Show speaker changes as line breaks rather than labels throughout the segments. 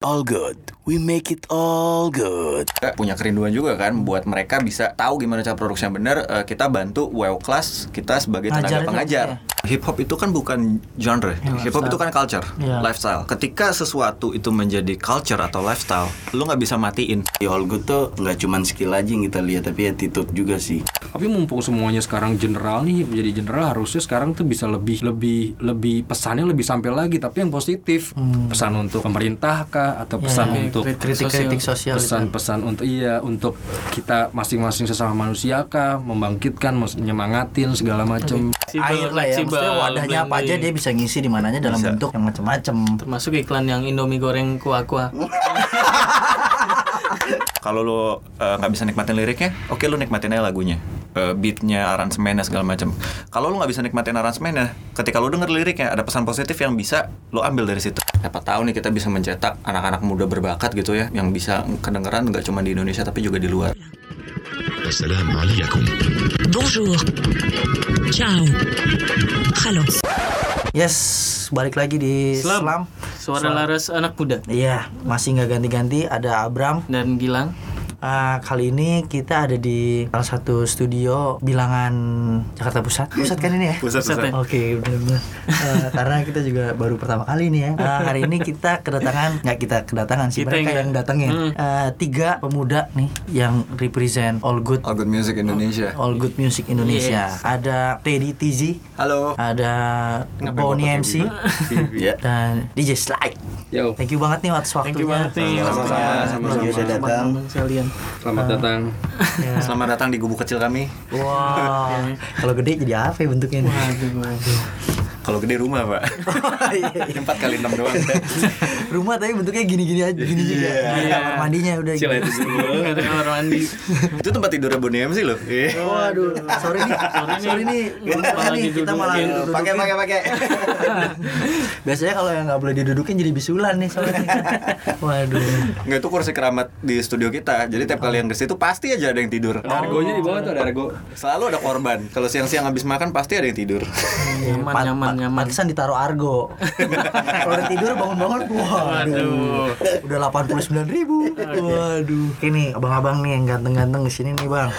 All good. We make it all good.
Kita punya kerinduan juga kan buat mereka bisa tahu gimana cara produksinya benar eh, kita bantu WO class kita sebagai tenaga
Ngajarin
pengajar
apa
hip hop itu kan bukan genre hip hop itu kan culture
Iya.
lifestyle ketika sesuatu itu menjadi culture atau lifestyle lu nggak bisa matiin
Di Ya, all good tuh nggak cuman skill aja yang kita lihat tapi attitude juga sih.
Tapi mumpung semuanya sekarang general nih menjadi general harusnya sekarang tuh bisa lebih lebih lebih pesannya lebih sampai lagi tapi yang positif
Hmm.
pesan untuk pemerintah kah atau pesan
ya.
untuk
Kritik-kritik sosial itu.
pesan-pesan untuk iya untuk kita masing-masing sesama manusia kah membangkitkan mes- menyemangatin segala macam.
air lah ya maksudnya wadahnya apa aja dia bisa ngisi di mananya dalam bentuk yang macam-macam
Termasuk iklan yang Indomie goreng kuah-kuah.
kalau lu eh, nggak bisa nikmatin liriknya oke lu nikmatin aja lagunya Eh, beatnya aransemennya segala macam kalau lu nggak bisa nikmatin aransemennya ketika lu denger liriknya ada pesan positif yang bisa lu ambil dari situ siapa tahu nih kita bisa mencetak anak-anak muda berbakat gitu ya yang bisa kedengeran nggak cuma di Indonesia tapi juga di luar
Assalamu alaikum.
Bonjour. Ciao. Halo.
yes balik lagi di
Slam.
Slam
Suara laras anak muda
iya masih nggak ganti-ganti ada Abram
dan Gilang.
Ah, kali ini kita ada di salah satu studio bilangan Jakarta Pusat pusat kan ini ya
Pusat ya.
Oke, benar-benar. Eh, karena kita juga baru pertama kali nih ya. Eh, hari ini kita kedatangan, nggak kita kedatangan sih
Kita
mereka
yang-
yang datangin. Eh, tiga pemuda nih yang represent all good,
All Good Music Indonesia
all good music Indonesia. Ada Teddy Tizi,
halo
ada Bonnie MC,
ya
dan DJ Slide.
Yo,
Thank you banget nih atas waktunya.
Thank you banget nih.
Sama-sama. Udah datang.
Abang sekalian.
Iya,
selamat
Ah.
datang.
Ya.
selamat datang di gubuk kecil kami
Wah, kalau gede jadi apa ya bentuknya nih?
Waduh, waduh.
kalau gede rumah pak Oh, empat kali enam doang
Iya, Rumah tapi bentuknya gini-gini aja, gini juga.
Iya.
Ada kamar mandinya udah. gitu.
Nggak ada kamar mandi.
itu tempat tidurnya Bonnie MC loh Iya.
Waduh, sorry nih, sorry nih,
Malah
nih kita malah
didudukin.
didudukin.
pakai pakai pakai
Biasanya kalau yang nggak boleh didudukin jadi bisulan nih soalnya. Waduh.
Nggak itu kursi keramat di studio kita. Jadi tiap kali yang ke situ pasti aja ada yang tidur.
Argonya di bawah tuh ada argo.
Selalu ada korban. Kalau siang-siang habis makan pasti ada yang tidur.
Nyaman,
Pan-
nyaman,
pan-
nyaman.
Pantesan ditaruh argo. kalau udah tidur bangun-bangun, waduh. Udah 89 ribu. Waduh. Ini abang-abang nih yang ganteng-ganteng di sini nih bang.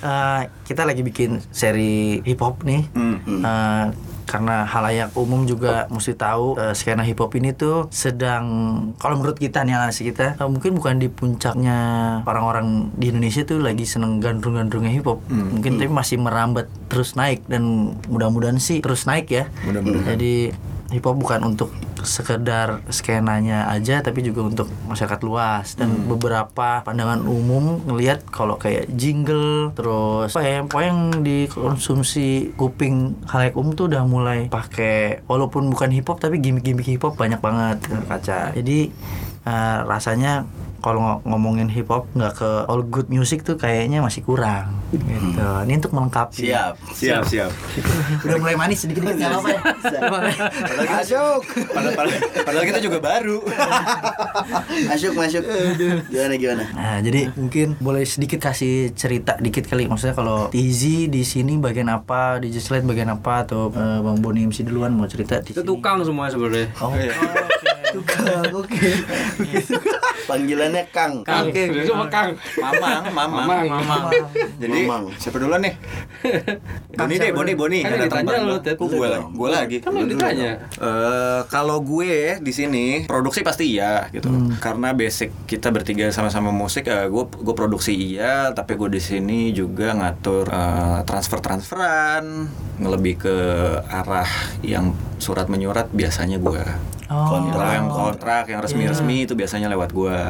Eh, kita lagi bikin seri hip hop nih. Eh, karena halayak umum juga mesti tahu eh, skena hip hop ini tuh sedang kalau menurut kita nih analisis kita eh, mungkin bukan di puncaknya orang-orang di Indonesia tuh lagi seneng gandrung-gandrungnya hip hop mungkin tapi masih merambat terus naik dan mudah-mudahan sih terus naik ya jadi hip hop bukan untuk sekedar skenanya aja tapi juga untuk masyarakat luas dan beberapa pandangan umum ngelihat kalau kayak jingle terus apa ya pokoknya yang dikonsumsi kuping halayak umum tuh udah mulai pakai walaupun bukan hip hop tapi gimmick-gimmick hip hop banyak banget kaca jadi eh, rasanya kalau ngo- ngomongin hip hop nggak ke all good music tuh kayaknya masih kurang gitu ini untuk melengkapi
Siap, siap.
udah mulai manis sedikit dikit nggak apa-apa ya
Padahal kita, padahal, padahal- padahal kita juga baru.
Masuk masuk. Gimana gimana?
Nah, jadi mungkin boleh sedikit kasih cerita dikit kali. Maksudnya kalau Tizi di sini bagian apa, di Slide bagian apa atau eh, Bang Boni MC duluan mau cerita di
Itu
sini.
tukang semua sebenarnya.
Oh, oke. Tukang, oke.
Panggilannya Kang.
Oke, itu Kang.
Mamang, mamang.
Mamang.
Jadi
Mamang.
siapa duluan nih? Boni deh, Boni, Boni.
Kan yang ditanya lu, Ted.
Gue lagi. Gue lagi.
Kan yang
Lu dulu
ditanya.
dong. Eh, kalau gue di sini produksi pasti iya gitu. Karena basic kita bertiga sama-sama musik, eh, gue gue produksi iya, tapi gue di sini juga ngatur transfer transferan, lebih ke arah yang surat menyurat biasanya gue.
Oh.
Kontrak yang kontrak yang resmi-resmi itu biasanya lewat gue.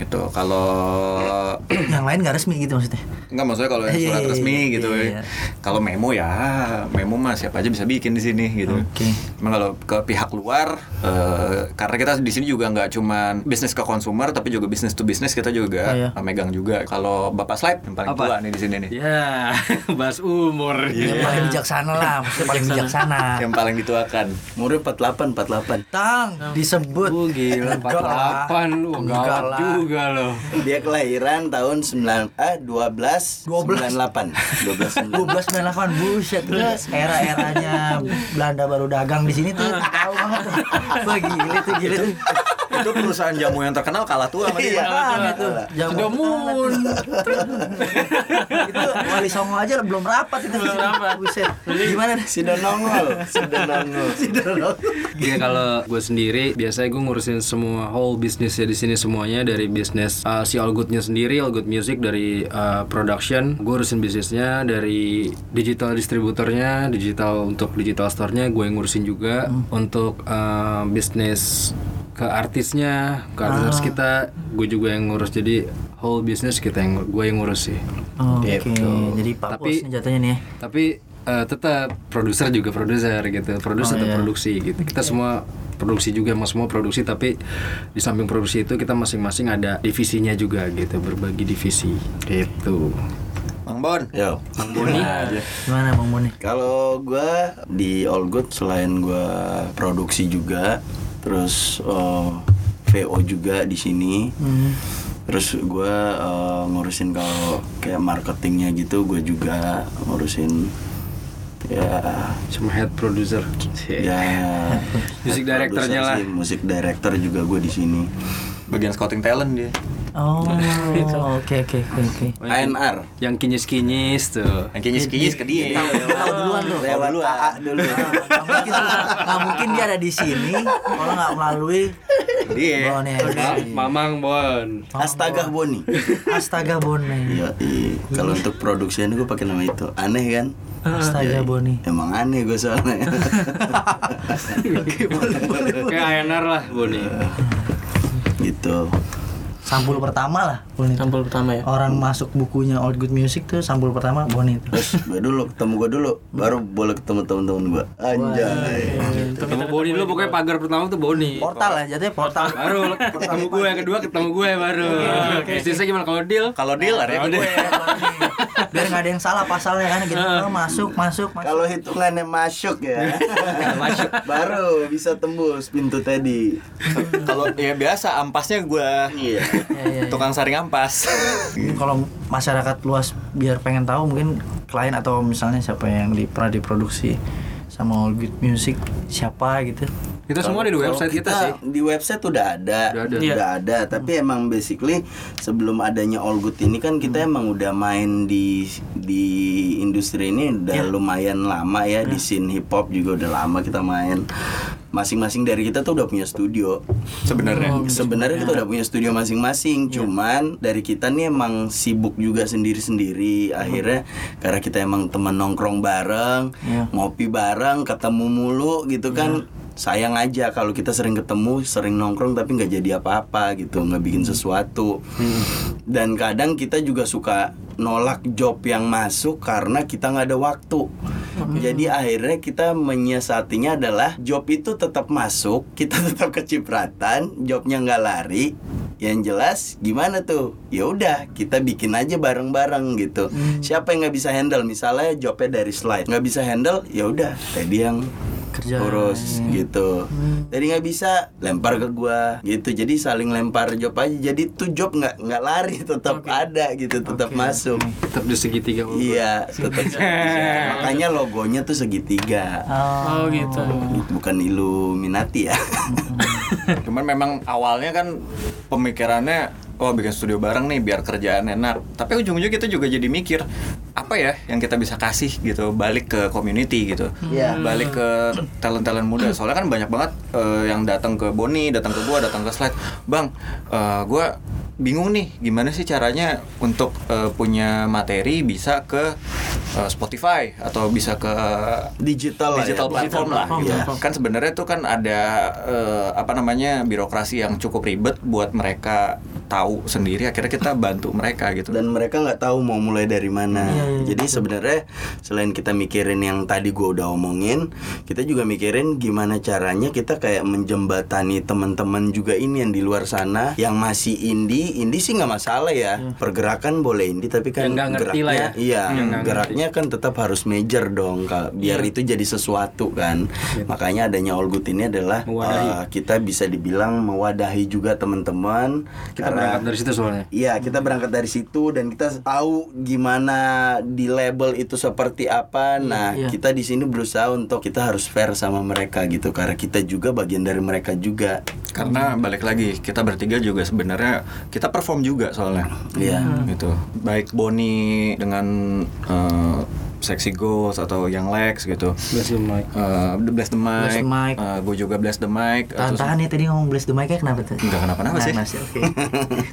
Gitu. Kalau
Yang lain nggak resmi gitu maksudnya.
Enggak maksudnya kalau yang
Iya,
surat
iya,
resmi
iya,
gitu.
iya.
Kalau memo ya, memo mah siapa aja bisa bikin di sini gitu.
Oke.
Emang kalau ke pihak luar eh, karena kita di sini juga nggak cuman bisnis ke konsumer tapi juga bisnis to bisnis kita juga
Oh, iya.
eh, megang juga. Kalau Bapak Slide yang paling
Apa?
tua nih di sini nih.
Ya, bahas umur.
Yang paling bijaksana lah, maksudnya paling bijaksana.
Yang paling dituakan.
Umurnya 48 48.
Tang disebut.
Gue gila,
Enggak lah.
48 lu,
Enggak
gawat
lah.
juga loh
Dia kelahiran tahun 9 ah 12
12.
98. 12
1298 buset gila. era-eranya Belanda baru dagang di sini tuh tahu banget. Wah, gile tuh gile tuh.
itu perusahaan jamu yang terkenal kalah tua sama dia.
Iya kan itu. Jamu.
Cedomun.
itu wali songo aja belum rapat itu.
Belum rapat.
Buset. Gimana nih?
Sudah nongol, sudah nongol.
Ya kalau gue sendiri biasanya gue ngurusin semua whole bisnisnya di sini semuanya dari bisnis uh, si All Good-nya sendiri, All Good Music dari uh, production, gue urusin bisnisnya dari digital distributornya, digital untuk digital store-nya gue yang ngurusin juga
Hmm.
untuk uh, bisnis ke artisnya, ke artis
Ah.
kita, gue juga yang ngurus jadi whole bisnis kita yang gue yang ngurus sih.
Oh,
Gitu.
Oke. Jadi Pak
Tapi-
Bos nih jatuhnya nih. ya.
Tapi eh, tetap produser juga produser gitu, produser tetap produksi gitu. Kita semua produksi juga, emang semua produksi. Tapi di samping produksi itu kita masing-masing ada divisinya juga gitu, berbagi divisi gitu.
Bang Bon.
Yo, Bang Boni.
Gimana Bang Boni?
Kalau gua di All Good selain gua produksi juga, terus eh, VO juga di sini.
Hmm.
Terus gua eh, ngurusin kalau kayak marketingnya gitu, gua juga ngurusin ya
Cuma head producer.
ya
Music director-nya lah.
produser sih, musik director juga gue di sini
Bagian scouting talent dia.
Oh.
gitu.
Oke oke oke oke.
ANR
Yang kinyis-kinyis tuh.
Yang kayaknya sekinyis ke dia.
Iya.
Tahu duluan tuh.
lewat AA dulu
Nggak mungkin, nggak mungkin dia ada di sini kalau nggak melalui
Iya.
Dia.
Bone.
Mamang Bon.
Astaga Boni
Astaga Bone.
Iya, kalau untuk produksinya gue pakai nama itu aneh kan?
Astaga ya, Boni.
Emang aneh gue soalnya.
Kayak ANR lah Boni.
gitu.
Sampul pertama lah Boni.
Sampul pertama ya.
Orang masuk bukunya Old Good Music tuh sampul pertama Boni itu.
Terus gue dulu ketemu gue dulu, baru boleh ketemu teman-teman gue. Anjay.
Ketemu Boni dulu pokoknya pagar pertama tuh Boni.
Portal ya, jatuhnya portal.
Baru ketemu gue, yang kedua ketemu gue baru. Bisnisnya gimana kalau deal?
Kalau ya, deal area gue.
Biar nggak ada yang salah pasalnya kan gitu. Oh, masuk, masuk, masuk.
Kalau hitungannya masuk ya, baru bisa tembus pintu tadi.
Kalau ya biasa ampasnya gue.
Iya.
Tukang saring ampas.
Mungkin Kalau masyarakat luas biar pengen tahu mungkin klien atau misalnya siapa yang di, pernah diproduksi sama All Good Music siapa gitu.
Kita semua ada di website kita, sih.
di website udah ada,
Udah
udah
ada. Hmm.
ada, Tapi emang basically sebelum adanya All Good ini kan
Hmm.
kita emang udah main di di industri ini udah lumayan lama ya di scene hip hop juga udah lama kita main. Masing-masing dari kita tuh udah punya studio.
Sebenarnya.
Sebenarnya kita udah punya studio masing-masing,
Iya.
cuman dari kita nih emang sibuk juga sendiri-sendiri.
Hmm.
Akhirnya karena kita emang teman nongkrong bareng,
Iya.
ngopi bareng, ketemu mulu gitu kan.
Iya.
Sayang aja kalau kita sering ketemu, sering nongkrong tapi nggak jadi apa-apa gitu, nggak bikin sesuatu. Dan kadang kita juga suka nolak job yang masuk karena kita nggak ada waktu. Jadi akhirnya kita menyiasatinya adalah job itu tetap masuk, kita tetap kecipratan, jobnya nggak lari. Yang jelas gimana tuh? Ya udah, kita bikin aja bareng-bareng gitu.
Hmm.
Siapa yang nggak bisa handle? Misalnya jobnya dari slide nggak bisa handle, ya udah, tadi yang
Kerja.
urus gitu.
Hmm.
Tadi nggak bisa, lempar ke gua gitu. Jadi saling lempar job aja. Jadi tuh job nggak nggak lari, tetap ada gitu, tetap masuk.
Tetap di segitiga Boni.
Iya, tetap segitiga. Makanya logonya tuh segitiga.
Ah.
Oh gitu.
Bukan Illuminati ya.
Hmm. Cuman memang awalnya kan pemikirannya oh bikin studio bareng nih biar kerjaan enak. Tapi ujung-ujungnya kita juga jadi mikir apa ya yang kita bisa kasih gitu balik ke community gitu.
Iya.
Balik ke talent-talent muda. Soalnya kan banyak banget eh, yang datang ke Boni, datang ke gua, datang ke Slide. Bang, eh, gua bingung nih gimana sih caranya untuk eh, punya materi bisa ke eh, Spotify atau bisa ke
Digital lah
digital
ya,
platform lah
platform,
gitu.
platform.
kan sebenarnya itu kan ada eh, apa namanya birokrasi yang cukup ribet buat mereka tahu sendiri akhirnya kita bantu mereka gitu
Dan mereka nggak tahu mau mulai dari mana. Jadi sebenarnya selain kita mikirin yang tadi gua udah omongin, kita juga mikirin gimana caranya kita kayak menjembatani teman-teman juga ini yang di luar sana yang masih indie. Indie sih nggak masalah ya. Pergerakan boleh indie tapi kan
Yang nggak ngerti
geraknya
lah ya.
iya,
Yang nggak
geraknya kan tetap harus major dong Kak. biar itu jadi sesuatu kan. Makanya adanya All Good ini adalah
Mewadahi.
eh, kita bisa dibilang mewadahi juga teman-teman
Kita berangkat dari situ soalnya.
Iya, kita berangkat dari situ dan kita tahu gimana di label itu seperti apa. Nah,
iya.
kita di sini berusaha untuk kita harus fair sama mereka gitu karena kita juga bagian dari mereka juga.
Karena balik lagi kita bertiga juga sebenarnya kita perform juga soalnya.
Iya.
Gitu. Baik Boni dengan eh, Sexy Ghost atau Yang Lex gitu.
Bless you, Mike.
Eh, The Bless the Mic.
Bless the Mic.
gue juga Bless the Mic. Eh,
Tahan,
Terus-
tahan ya tadi ngomong bless the mic kenapa tuh?
Nggak kenapa-napa
Nah,
sih.
masih oke.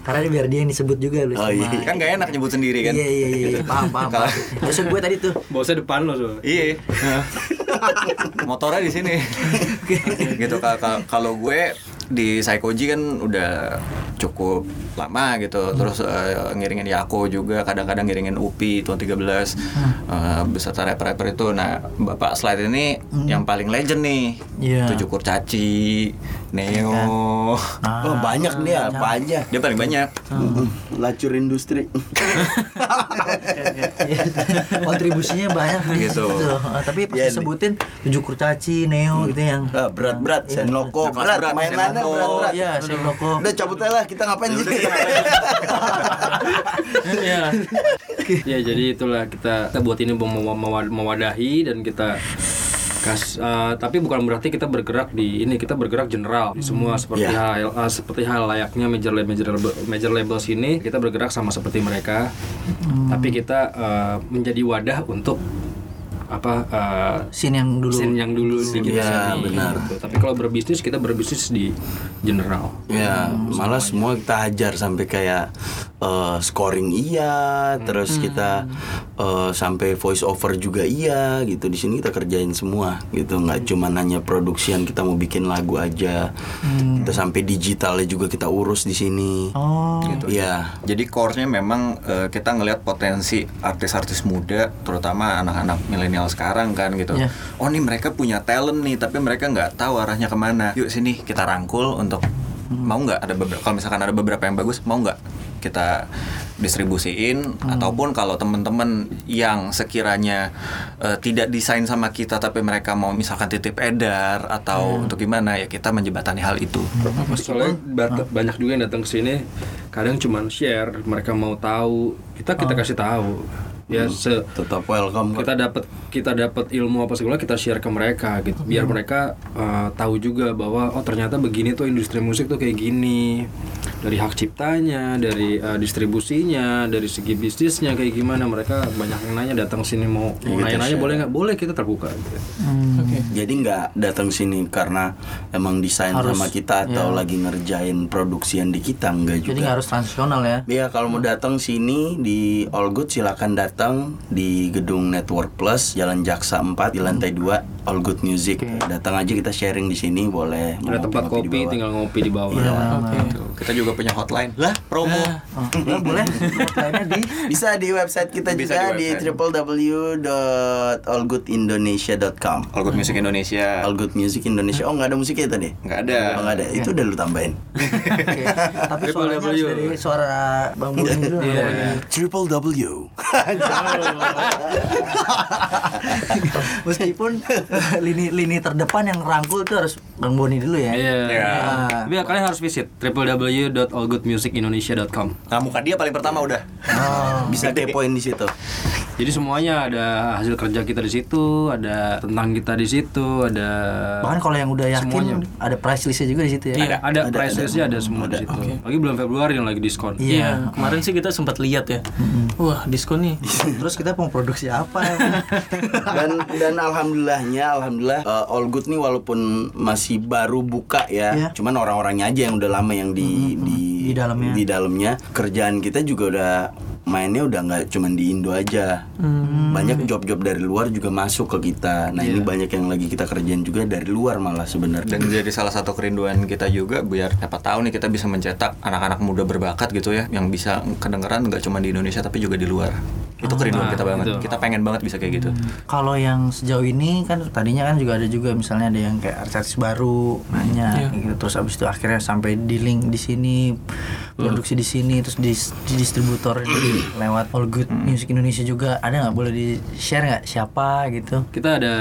Karena biar dia yang disebut juga bless
Oh,
the
iya.
mic.
Kan gak enak nyebut sendiri kan.
Iya iya iya, iya. paham paham. paham. Maksud gue tadi tuh
Bosnya depan lo soalnya.
Iya. Motornya di sini. gitu ka- ka- kalau gue di Psychoji kan udah cukup lama gitu. Terus eh, ngiringin Yako juga, kadang-kadang ngiringin Upi tahun 13 eh, beserta rapper-rapper itu. Nah, Bapak Slide ini yang paling legend nih.
Iya.
Tujuh Cukur Caci, Neo.
Oh, banyak nih apa aja.
Dia paling banyak.
Ah. Lacur industri.
kontribusinya banyak
Gitu.
Ah, Tapi pas
Iya, nih.
disebutin tujuh kurcaci, neo
Hmm.
gitu yang
Oh.
Ah, berat-berat, senloko,
Kelas
berat,
berat,
mainannya
Senloko.
berat-berat.
Iya, Senloko.
Ya Udah cabut aja lah, kita ngapain sih?
Iya.
ya jadi itulah kita kita buat ini mem- mem- mewa- mewadahi dan kita kas eh, tapi bukan berarti kita bergerak di ini kita bergerak general di semua seperti hal eh, seperti hal layaknya major label major label major labels ini kita bergerak sama seperti mereka tapi kita eh, menjadi wadah untuk apa eh,
scene yang dulu.
scene yang dulu di kita
Iya,
sini,
benar.
gitu. tapi kalau berbisnis kita berbisnis di general
Ya, malah semua kita hajar sampai kayak eh, scoring iya, terus kita eh, sampai voice over juga iya gitu. Di sini kita kerjain semua gitu,
Mm.
nggak cuma hanya produksian kita mau bikin lagu aja. Kita sampai digitalnya juga kita urus di sini.
Mm. Oh.
gitu. Iya.
Jadi core-nya memang eh, kita ngelihat potensi artis-artis muda, terutama anak-anak milenial sekarang kan gitu.
Iya.
Oh nih mereka punya talent nih, tapi mereka nggak tahu arahnya kemana. Yuk sini kita rangkul untuk mau nggak ada beberapa kalau misalkan ada beberapa yang bagus mau nggak kita distribusiin ataupun kalau teman-teman yang sekiranya eh, tidak desain sama kita tapi mereka mau misalkan titip edar atau untuk gimana ya kita menjembatani hal itu.
Hmm.
Nah,
soalnya ba- banyak juga yang datang ke sini kadang cuman share mereka mau tahu kita kita
Oh.
kasih tahu ya
Hmm.
se-
Tetap welcome.
kita dapat kita dapat ilmu apa segala kita share ke mereka gitu biar
Hmm.
mereka uh, tahu juga bahwa oh ternyata begini tuh industri musik tuh kayak gini dari hak ciptanya dari uh, distribusinya dari segi bisnisnya kayak gimana mereka banyak yang nanya datang sini mau
Iya,
mau nanya-nanya boleh nggak boleh kita terbuka gitu.
Jadi nggak datang sini karena emang desain sama kita atau lagi ngerjain produksian di kita enggak juga.
Iya. Jadi nggak harus transaksional ya.
Iya kalau mau datang sini di All Good silakan datang di gedung Network Plus Jalan Jaksa 4 di lantai 2 All Good Music. Datang aja kita sharing di sini boleh. Mau
ada tempat
ngopi-ngopi Oh, di bawah. Iya.
kopi tinggal ngopi di bawah
Gitu. Kita juga punya hotline lah promo.
Oh,
Hmm.
nggak boleh. Lainnya di
Bisa di website kita
Bisa
juga
di
di,
website.
www.allgoodindonesia.com.
All Good Music Indonesia.
All Good Music Indonesia. Oh nggak ada musiknya tadi?
Nggak ada.
Oh, nggak ada. Itu udah lu tambahin.
Oke. Tapi suaranya harus dari suara Bang Budi dulu.
Triple W.
Meskipun lini lini terdepan yang rangkul tuh harus Bang Boni dulu ya.
Iya.
Iya.
Tapi ya, kalian harus visit www.allgoodmusicindonesia.com.
Nah, muka dia paling pertama udah.
Bisa kepoin di situ.
Jadi semuanya ada hasil kerja kita di situ, ada tentang kita di situ, ada
Bahkan kalau yang udah yakin ada price listnya juga di situ ya.
ada, Iya, ada, price listnya ada semua di situ. Lagi bulan Februari yang lagi diskon.
Iya.
Iya, kemarin sih kita sempat lihat ya. Wah, diskon nih.
Terus kita mau produksi apa? ya?
dan dan alhamdulillahnya alhamdulillah uh, All Good nih walaupun masih baru buka ya
Iya.
cuman orang-orangnya aja yang udah lama yang di di
Di dalamnya.
di dalamnya. kerjaan kita juga udah mainnya udah nggak cuman di Indo aja banyak job-job dari luar juga masuk ke kita nah
Iya.
ini banyak yang lagi kita kerjain juga dari luar malah sebenarnya
Dan jadi salah satu kerinduan kita juga biar dapat tahu nih kita bisa mencetak anak-anak muda berbakat gitu ya yang bisa kedengeran nggak cuma di Indonesia tapi juga di luar. Itu kerinduan kita banget. Kita pengen banget bisa kayak gitu.
Kalau yang sejauh ini kan tadinya kan juga ada juga misalnya ada yang kayak artis baru nanya gitu terus abis itu akhirnya sampai di link di sini produksi di sini terus di, di distributor di- lewat All Good Music Indonesia juga ada nggak boleh di share nggak siapa gitu?
Kita ada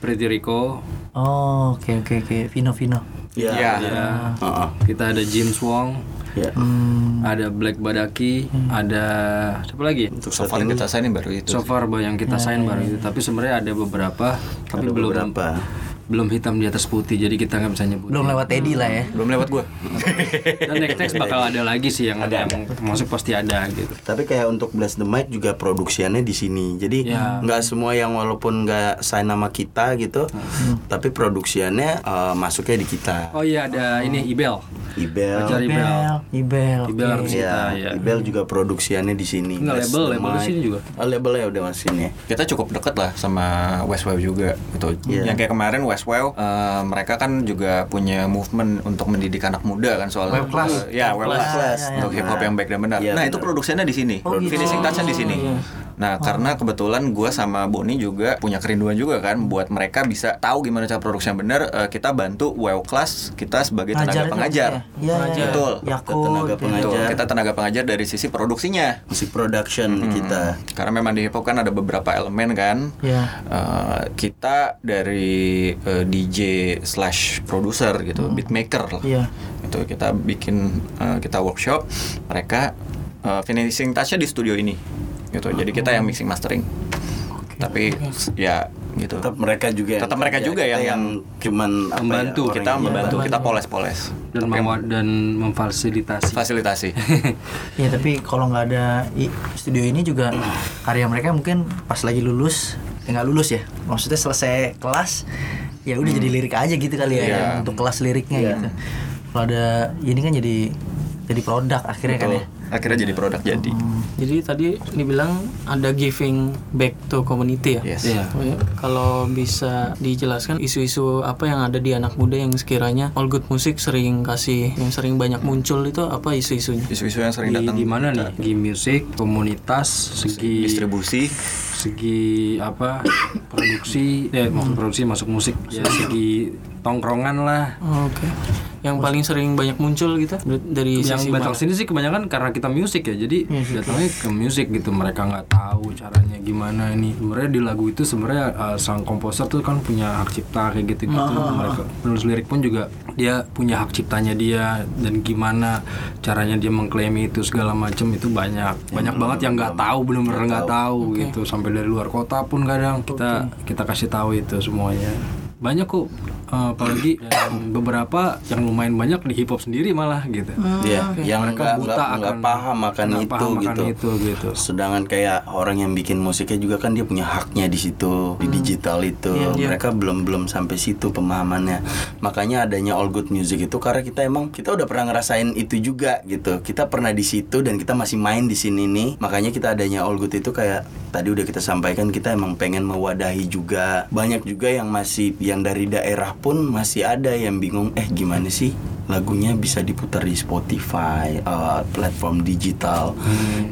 Pretty Rico,
Oh oke oke oke Vino Vino
Iya.
Iya.
Ada,
Heeh.
ya. kita ada James Wong,
Iya.
Mm. Hmm,
ada Black Badaki, ada siapa lagi?
Untuk
So
saat
far yang
ini
kita sign baru itu.
So far bah, yang kita sign baru itu, tapi sebenarnya ada beberapa, tapi
ada
belum
beberapa.
belum hitam di atas putih, jadi kita nggak bisa nyebut.
belum lewat Teddy lah ya
Belum lewat gua.
Dan next next bakal ada lagi sih yang ada, yang masuk pasti ada gitu.
Tapi kayak untuk Bless the Mic juga produksiannya di sini. Jadi
Iya.
nggak semua yang walaupun nggak sign nama kita gitu, tapi produksiannya eh, masuknya di kita.
Hmm. Oh iya ada ini Ibel.
Ibel.
Cari Ibel.
Ibel
Ibel
oke.
harus-
Iya,
Iya.
Ibel juga produksiannya di sini.
Nggak,
Bless
label,
the
label di
Mic.
sini juga.
Oh, label ya udah masuk sini ya.
kita cukup deket lah sama Westwave juga gitu.
Iya.
Yang kayak kemarin Westwave eh, mereka kan juga punya movement untuk mendidik anak muda kan soal
Web class.
Eh, ya web class.
class.
Untuk hip hop yang baik dan benar.
Iya,
nah,
benar.
itu produksinya di sini.
Oh, gitu.
Finishing touch di sini. Nah, karena kebetulan gue sama Boni juga punya kerinduan juga kan buat mereka bisa tahu gimana cara produksi yang benar, eh, kita bantu web class kita sebagai tenaga
Ngajarin
pengajar.
apa ya? Iya, iya, iya.
Betul.
Yakult,
Tenaga
ya.
pengajar.
Betul. Kita tenaga pengajar dari sisi produksinya.
Musik production
Hmm.
kita.
Karena memang di hip hop kan ada beberapa elemen kan.
Iya.
Eh, kita dari eh, DJ slash produser gitu, beatmaker lah.
Iya.
Itu kita bikin eh, kita workshop, mereka eh, finishing touch-nya di studio ini. Gitu.
Ah,
Jadi kita
oh.
yang mixing mastering. Tapi ya gitu.
Tetap mereka juga. yang
Tetap mereka
kerja.
juga
Kita
yang-
yang cuman apa ya,
Membantu,
orang
kita
yang
membantu, kita poles-poles.
dan
Tapi
memwa- dan memfasilitasi.
fasilitasi.
Ya tapi kalau nggak ada i- studio ini juga karya mereka mungkin pas lagi lulus ya nggak lulus ya maksudnya selesai kelas ya udah jadi lirik aja gitu kali ya
Hmm. Iya.
untuk kelas liriknya gitu kalau ada ini kan jadi jadi produk akhirnya kan ya
Akhirnya jadi produk jadi.
Oh.
Jadi tadi dibilang ada giving back to community ya.
Yes.
Iya.
Oh ya, Kalau bisa dijelaskan isu-isu apa yang ada di anak muda yang sekiranya All Good Music sering kasih, yang sering banyak muncul itu apa isu-isunya?
Isu-isu yang sering
Di,
datang
di mana nih? Segi musik, komunitas, segi
distribusi
segi apa? produksi, ya maksud produksi masuk musik, ya segi tongkrongan lah.
Oke. Yang paling sering banyak muncul gitu dari
Yang
sisi
datang
mana?
sini sih kebanyakan karena kita musik ya, jadi datangnya ke musik gitu. Mereka nggak tahu caranya gimana ini. Sebenarnya di lagu itu sebenarnya uh, sang komposer tuh kan punya hak cipta kayak gitu gitu. Mereka penulis lirik pun juga dia punya hak ciptanya dia dan gimana caranya dia mengklaim itu segala macam itu banyak. Banyak banget yang nggak tahu belum Iya, benar nggak tahu gitu. Sampai dari luar kota pun kadang kita kita kasih tahu itu semuanya banyak kok eh, apalagi dan beberapa yang lumayan banyak di hip hop sendiri malah gitu
Iya, yang nggak
Mereka buta
nggak nggak
akan-
paham akan
nggak
itu
paham akan
gitu.
itu, gitu.
Sedangkan kayak orang yang bikin musiknya juga kan dia punya haknya di situ di digital itu. Mereka belum belum sampai situ pemahamannya. Makanya adanya all good music itu karena kita emang kita udah pernah ngerasain itu juga gitu. Kita pernah di situ dan kita masih main di sini nih. Makanya kita adanya all good itu kayak tadi udah kita sampaikan kita emang pengen mewadahi juga. Banyak juga yang masih yang dari daerah pun masih ada yang bingung eh gimana sih lagunya bisa diputar di Spotify, eh, platform digital.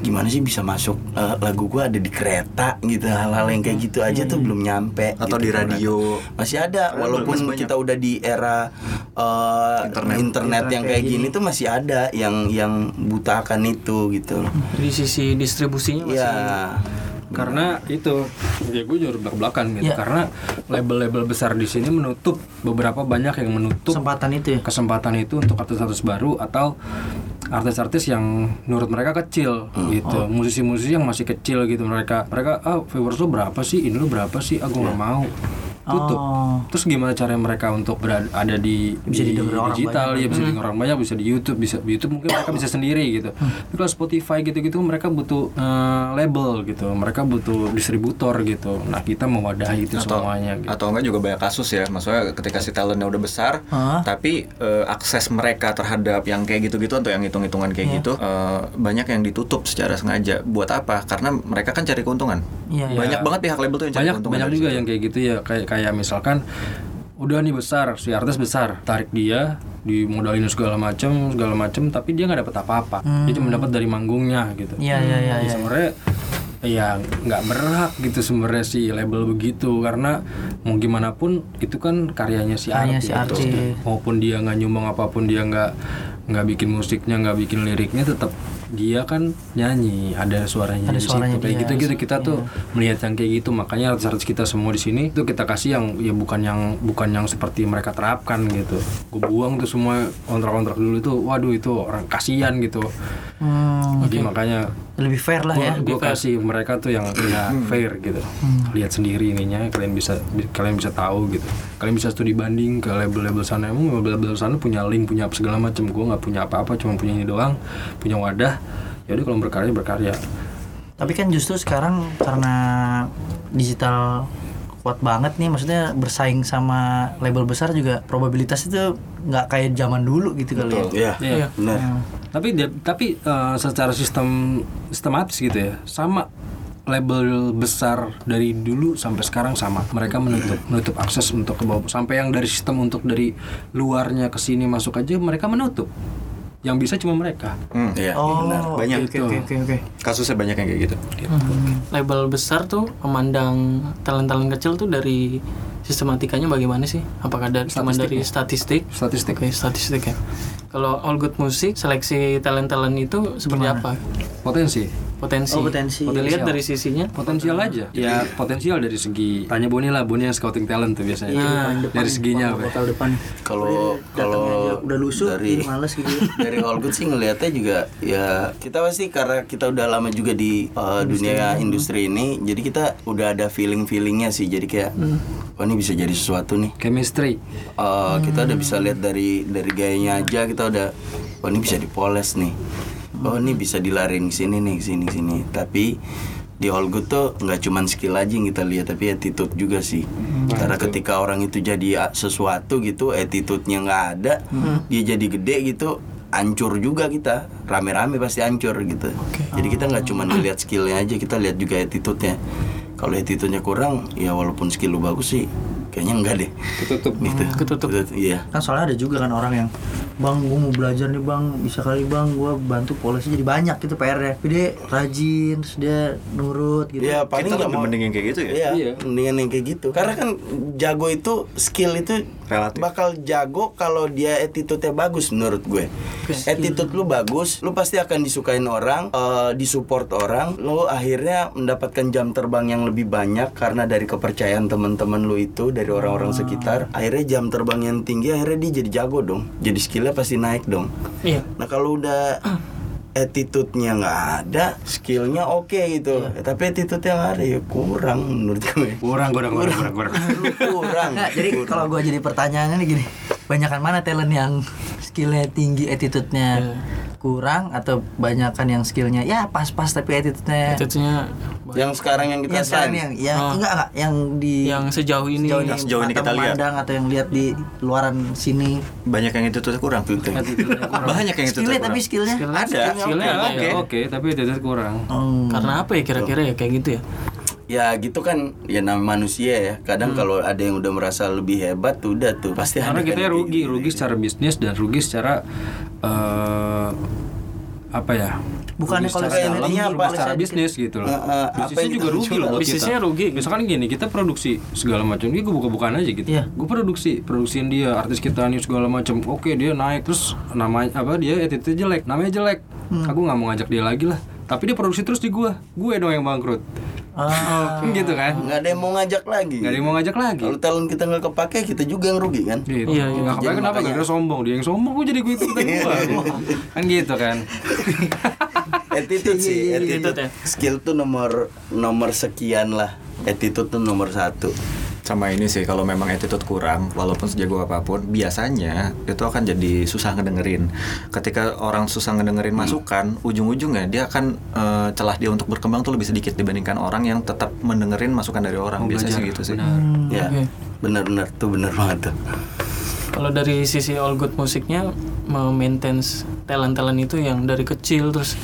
Gimana sih bisa masuk eh, lagu gua ada di kereta gitu hal-hal yang kayak gitu aja tuh belum nyampe.
atau
gitu.
di radio.
masih ada
Karena
walaupun
masih banyak.
kita udah di era eh,
Internet.
internet. yang kayak gini tuh masih ada yang yang buta akan itu gitu loh.
Di sisi distribusinya masih
Iya.
karena itu ya gue jujur belak belakan gitu karena label-label besar di sini menutup beberapa banyak yang menutup
kesempatan itu ya
kesempatan itu untuk artis-artis baru atau artis-artis yang menurut mereka kecil
Hmm, oh.
gitu musisi-musisi yang masih kecil gitu mereka mereka ah viewers lu berapa sih ini lu berapa sih aku
Iya.
nggak mau tutup
Oh.
terus gimana cara mereka untuk berada ada di
Bisa
di
didengar orang Hmm.
digital ya bisa didengar orang banyak bisa di YouTube bisa di YouTube mungkin mereka bisa sendiri gitu
Hmm.
tapi kalau Spotify gitu-gitu mereka butuh eh, label gitu mereka butuh distributor gitu nah kita mewadahi itu semuanya gitu.
atau enggak juga banyak kasus ya maksudnya ketika si talentnya udah besar
Hah?
tapi eh, akses mereka terhadap yang kayak gitu-gitu atau yang hitung-hitungan
Iya.
kayak gitu eh, banyak yang ditutup secara sengaja buat apa karena mereka kan cari keuntungan
Iya, iya.
banyak banget pihak label tuh yang cari
banyak
keuntungan
banyak
dari
juga
situ.
yang kayak gitu ya kayak kayak misalkan udah nih besar si artis besar tarik dia dimodalin segala macam segala macam tapi dia nggak dapat apa-apa dia cuma dapat dari manggungnya gitu
Hmm. Iya, iya, iya,
Ya,
iya.
sebenarnya ya nggak berhak gitu sebenarnya si label begitu karena mau gimana pun itu kan karyanya si
Karyanya
artis,
si artis.
maupun dia nggak nyumbang apapun dia nggak nggak bikin musiknya nggak bikin liriknya tetap dia kan nyanyi ada suaranya
Ada
di situ.
suaranya
kayak
dia,
gitu gitu kita
iya.
tuh melihat yang kayak gitu makanya artis-artis kita semua di sini tuh kita kasih yang ya bukan yang bukan yang seperti mereka terapkan gitu gue buang tuh semua kontrak-kontrak dulu tuh waduh itu orang kasihan gitu
Hmm,
jadi makanya
lebih fair lah ya.
gue kasih mereka tuh yang ya, fair gitu lihat sendiri ininya kalian bisa bi- kalian bisa tahu gitu kalian bisa studi banding ke label-label sana emang label-label sana punya link punya apa segala macam gue nggak punya apa-apa cuma punya ini doang punya wadah ya udah kalau berkarya berkarya
Tapi kan justru sekarang karena digital kuat banget nih, maksudnya bersaing sama label besar juga probabilitas itu nggak kayak zaman dulu gitu kali ya.
Iya.
Iya.
Benar.
tapi dia- tapi eh, secara sistem sistematis gitu ya sama label besar dari dulu sampai sekarang sama mereka menutup menutup akses untuk ke bawah sampai yang dari sistem untuk dari luarnya ke sini masuk aja mereka menutup yang bisa cuma mereka
Iya,
Oh,
benar.
Banyak.
Oke oke oke oke.
Hmm, Kasusnya banyak yang kayak gitu.
Label besar tuh memandang talent-talent kecil tuh dari sistematikanya bagaimana sih? Apakah dari cuma dari statistik?
statistik
Oke, statistik ya. Kalau All Good Music seleksi talent-talent itu seperti apa?
potensi
Potensi.
Oh, potensi.
Dilihat dari sisinya
potensial aja ya potensial dari segi tanya Boni lah Boni yang scouting talent tuh biasanya dari seginya apa
Bakal depan.
Kalau
Datangnya
kalau
aja udah lusuh,
dari
males gitu.
dari All Good sih ngelihatnya juga ya kita pasti karena kita udah lama juga di uh,
ya.
dunia industri ini, jadi kita udah ada feeling feelingnya sih. Jadi kayak
Hmm.
wah ini bisa jadi sesuatu nih.
chemistry
Uh, kita udah bisa lihat dari dari gayanya aja kita udah oh ini bisa dipoles nih oh ini bisa dilarin ke sini nih ke sini ke sini tapi di all good tuh nggak cuman skill aja yang kita lihat tapi attitude juga sih karena ketika orang itu jadi a- sesuatu gitu attitude-nya nggak ada dia jadi gede gitu hancur juga kita rame-rame pasti hancur gitu jadi kita nggak cuman ngeliat skillnya aja kita lihat juga attitude-nya kalau attitude-nya kurang ya walaupun skill lu bagus sih kayaknya enggak deh
ketutup
gitu
ketutup.
Ketutup, iya
Kan soalnya ada juga kan orang yang Bang, gue mau belajar nih bang, bisa kali bang, gue bantu polisi jadi banyak gitu PR-nya Tapi dia rajin, terus dia nurut gitu
Iya, paling
Kita
nggak
lebih
mau
mending yang kayak gitu ya.
Iya,
Iya.
mendingan yang kayak gitu. Karena kan jago itu skill itu
Relatif.
bakal jago kalau dia attitude-nya bagus menurut gue. Attitude lu bagus, lu pasti akan disukain orang, eh, disupport orang, lu akhirnya mendapatkan jam terbang yang lebih banyak karena dari kepercayaan teman-teman lu itu dari orang-orang sekitar. Akhirnya jam terbang yang tinggi akhirnya dia jadi jago dong. Jadi skillnya pasti naik dong.
Iya.
Nah kalau udah attitude-nya nggak ada, skillnya oke gitu. Eh, Tapi attitude-nya nggak ada ya kurang menurut gue.
kurang kurang kurang kurang, kurang.
Lu kurang.
Nggak, jadi kalau gue jadi pertanyaannya nih gini Banyakan mana talent yang skillnya tinggi, attitude-nya kurang Atau banyakan yang skillnya ya pas-pas tapi attitude-nya
Attitude-nya
yang sekarang yang kita kan.
Yang Iya, sekarang
sign.
yang, yang enggak, enggak, yang di
yang sejauh ini
sejauh ini,
yang sejauh ini
mata
kita lihat.
memandang Atau yang lihat di luaran sini
Banyak yang itu tuh kurang. banyak yang itu tuh
Iya. Skillnya
kurang.
tapi skillnya
Ada.
skillnya
oke
ada ya.
oke tapi attitude kurang
Hmm.
Karena apa ya kira-kira ya kayak gitu ya?
Ya gitu kan ya namanya manusia ya. Kadang kalau ada yang udah merasa lebih hebat udah tuh pasti ada
karena ya, kita
kan yang
rugi
kayak gitu.
rugi secara bisnis dan rugi secara eh, apa ya
Bukannya
Rugi
kalau iya,
secara
saya
dalam,
intinya
rugi
apa?
secara bisnis gitu loh
Eh, eh, apa
bisnisnya
yang
juga
kita
rugi loh buat
Bisnisnya
kita.
rugi.
misalkan gini kita produksi segala macam ini gue buka-bukaan aja gitu
Iya.
gue produksi produksiin dia artis kita nih segala macam oke dia naik terus namanya apa dia attitude jelek namanya jelek
Hmm.
aku nggak mau ngajak dia lagi lah tapi dia produksi terus di gue gue dong yang bangkrut
Ah.
gitu kan
nggak ada yang mau ngajak lagi.
nggak ada yang mau ngajak lagi
Kalau talent kita nggak kepake kita juga yang rugi kan.
Gitu.
Iya,
Iya,
iya.
Nggak kebayang kenapa gara-gara sombong dia yang sombong kok jadi gue ikutan gua. gitu. kan gitu kan.
attitude sih attitude
Attitude ya.
skill tuh nomor nomor sekian lah attitude tuh nomor satu
sama ini sih kalau memang attitude kurang walaupun sejago apapun biasanya itu akan jadi susah ngedengerin ketika orang susah ngedengerin masukan ujung-ujungnya dia akan eh, celah dia untuk berkembang tuh lebih sedikit dibandingkan orang yang tetap mendengerin masukan dari
Oh,
orang biasanya sih gitu sih
ya bener-bener tuh bener banget tuh
Kalau dari sisi all good musiknya memaintain talent-talent itu yang dari kecil terus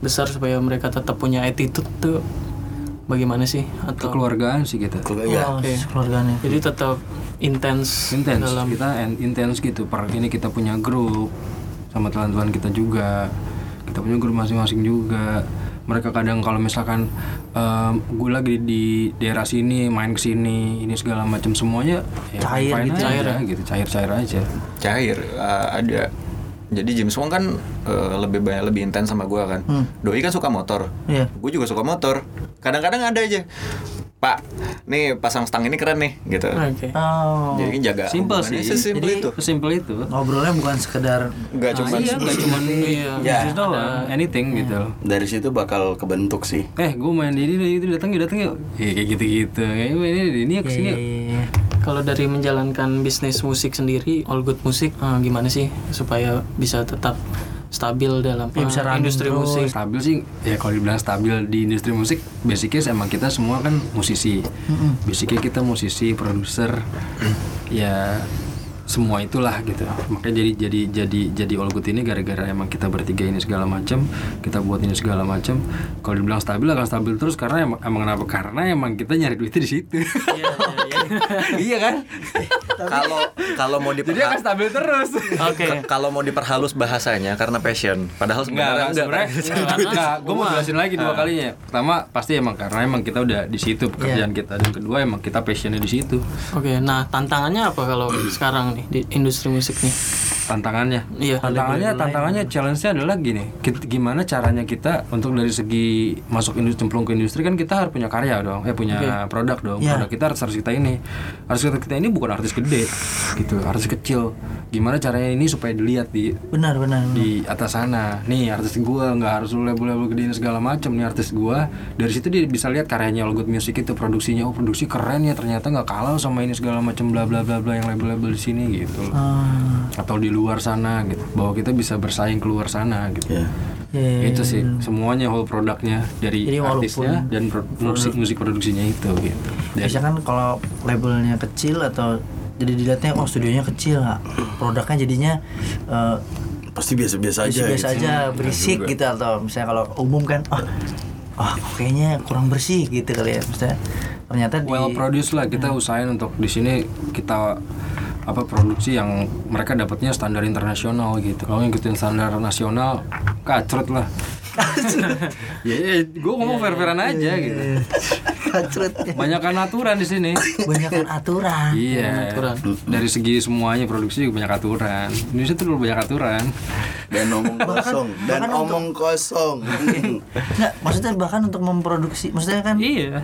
besar supaya mereka tetap punya attitude tuh bagaimana sih atau
Kekeluargaan sih kita.
Kalau- ya
Oh, keluarganya.
jadi tetap intens
Intens.
dalam
Kita en- intens gitu. Per ini kita punya grup sama teman-teman kita juga. Kita punya grup masing-masing juga. Mereka kadang kalau misalkan em, gue lagi di daerah sini, main ke sini, ini segala macam semuanya ya
Cair
fine
gitu.
aja, gitu, cair-cair aja.
cair eh, ada Jadi James Wong kan eh, lebih banyak lebih intens sama gua kan.
Hmm.
Doi kan suka motor.
Iya.
Gue juga suka motor. Kadang-kadang ada aja. Pak, nih pasang stang ini keren nih gitu.
Oke.
Oh.
Jadi jaga.
Simple
hubungannya
sih.
Sesimpel
Jadi,
itu.
Sesimpel itu.
Ngobrolnya bukan sekedar
Gak cuma
iya, nggak cuma
Iya.
Ya.
bisnis doang, anything gitu.
Dari situ bakal kebentuk sih.
Eh, gue main di ini itu datang yuk datang yuk. Iya kayak gitu-gitu. Kayak main ini ini yuk kesini yuk.
Iya.
Kalau dari menjalankan bisnis musik sendiri, All Good Music eh, gimana sih supaya bisa tetap stabil dalam
Iya,
eh,
bisa running
industri
terus.
musik?
Stabil sih, ya kalau dibilang stabil di industri musik, basicnya emang kita semua kan musisi. Basicnya kita musisi, produser, ya semua itulah gitu. Makanya jadi jadi jadi jadi all good ini gara-gara emang kita bertiga ini segala macam, kita buat ini segala macam. Kalau dibilang stabil akan stabil terus karena emang, emang kenapa? Karena emang kita nyari duitnya di situ.
iya,
iya kan?
kalau kalau mau
Jadi akan
diperha-
stabil terus.
Oke.
ke- kalau mau diperhalus bahasanya karena passion. Padahal sebenarnya
Enggak, enggak, enggak. Gue mau jelasin lagi dua kalinya. Pertama, pasti emang karena emang kita udah di situ pekerjaan kita dan kedua emang kita passionnya di situ.
Oke, nah tantangannya apa kalau sekarang nih di industri musik nih?
Tantangannya.
Iya.
Tantangannya, tantangannya, challenge-nya adalah gini. kit- gimana caranya kita untuk dari segi masuk industri cemplung ke industri kan kita harus punya karya dong, eh punya produk dong.
Iya.
Produk kita harus harus kita ini. Harus kita, kita ini bukan artis gede gitu, artis kecil. Gimana caranya ini supaya dilihat di
Benar, benar.
di atas sana nih artis gua nggak harus lu label label gedein segala macam nih artis gua dari situ dia bisa lihat karyanya All Good Music itu produksinya oh produksi keren ya ternyata nggak kalah sama ini segala macam bla bla bla bla yang label label di sini gitu loh.
Ah,
atau di luar sana gitu bahwa kita bisa bersaing keluar sana gitu
Ya.
iya.
itu sih semuanya whole produknya dari
Jadi walaupun
artisnya dan pro- musik musik produksinya itu gitu Dari-
Biasanya kan kalau labelnya kecil atau jadi dilihatnya oh studionya kecil nggak? produknya jadinya eh,
Pasti biasa-biasa aja.
biasa
gitu.
aja berisik gitu atau misalnya kalau umum kan oh, oh kayaknya kurang bersih gitu kali ya misalnya ternyata di Hmm.
well produced lah kita usahain untuk di sini kita apa produksi yang mereka dapatnya standar internasional gitu kalau ngikutin standar nasional kacret lah ya,
Iya,
gue ngomong fair-fairan aja gitu
kacret
banyakkan aturan di sini
banyakan aturan
iya dari segi semuanya produksi juga banyak aturan Indonesia tuh dulu banyak aturan
Dan omong kosong. Dan
bahkan untuk-
omong kosong. Iya.
nggak maksudnya bahkan untuk memproduksi maksudnya kan
iya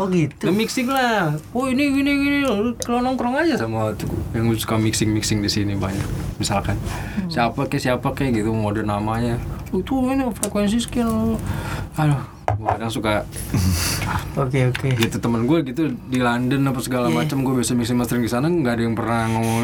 oh gitu
The mixing lah. Oh ini gini gini, Lu kalau nongkrong aja sama tuh yang suka mixing mixing di sini banyak. Misalkan
Hmm.
siapa ke siapa ke gitu mau ada namanya. Itu ini frekuensi skill. Aduh, gue kadang suka
oke oke
gitu temen gue gitu di London apa segala
Iya.
macam gue biasa mixing mastering di sana nggak ada yang pernah ngomong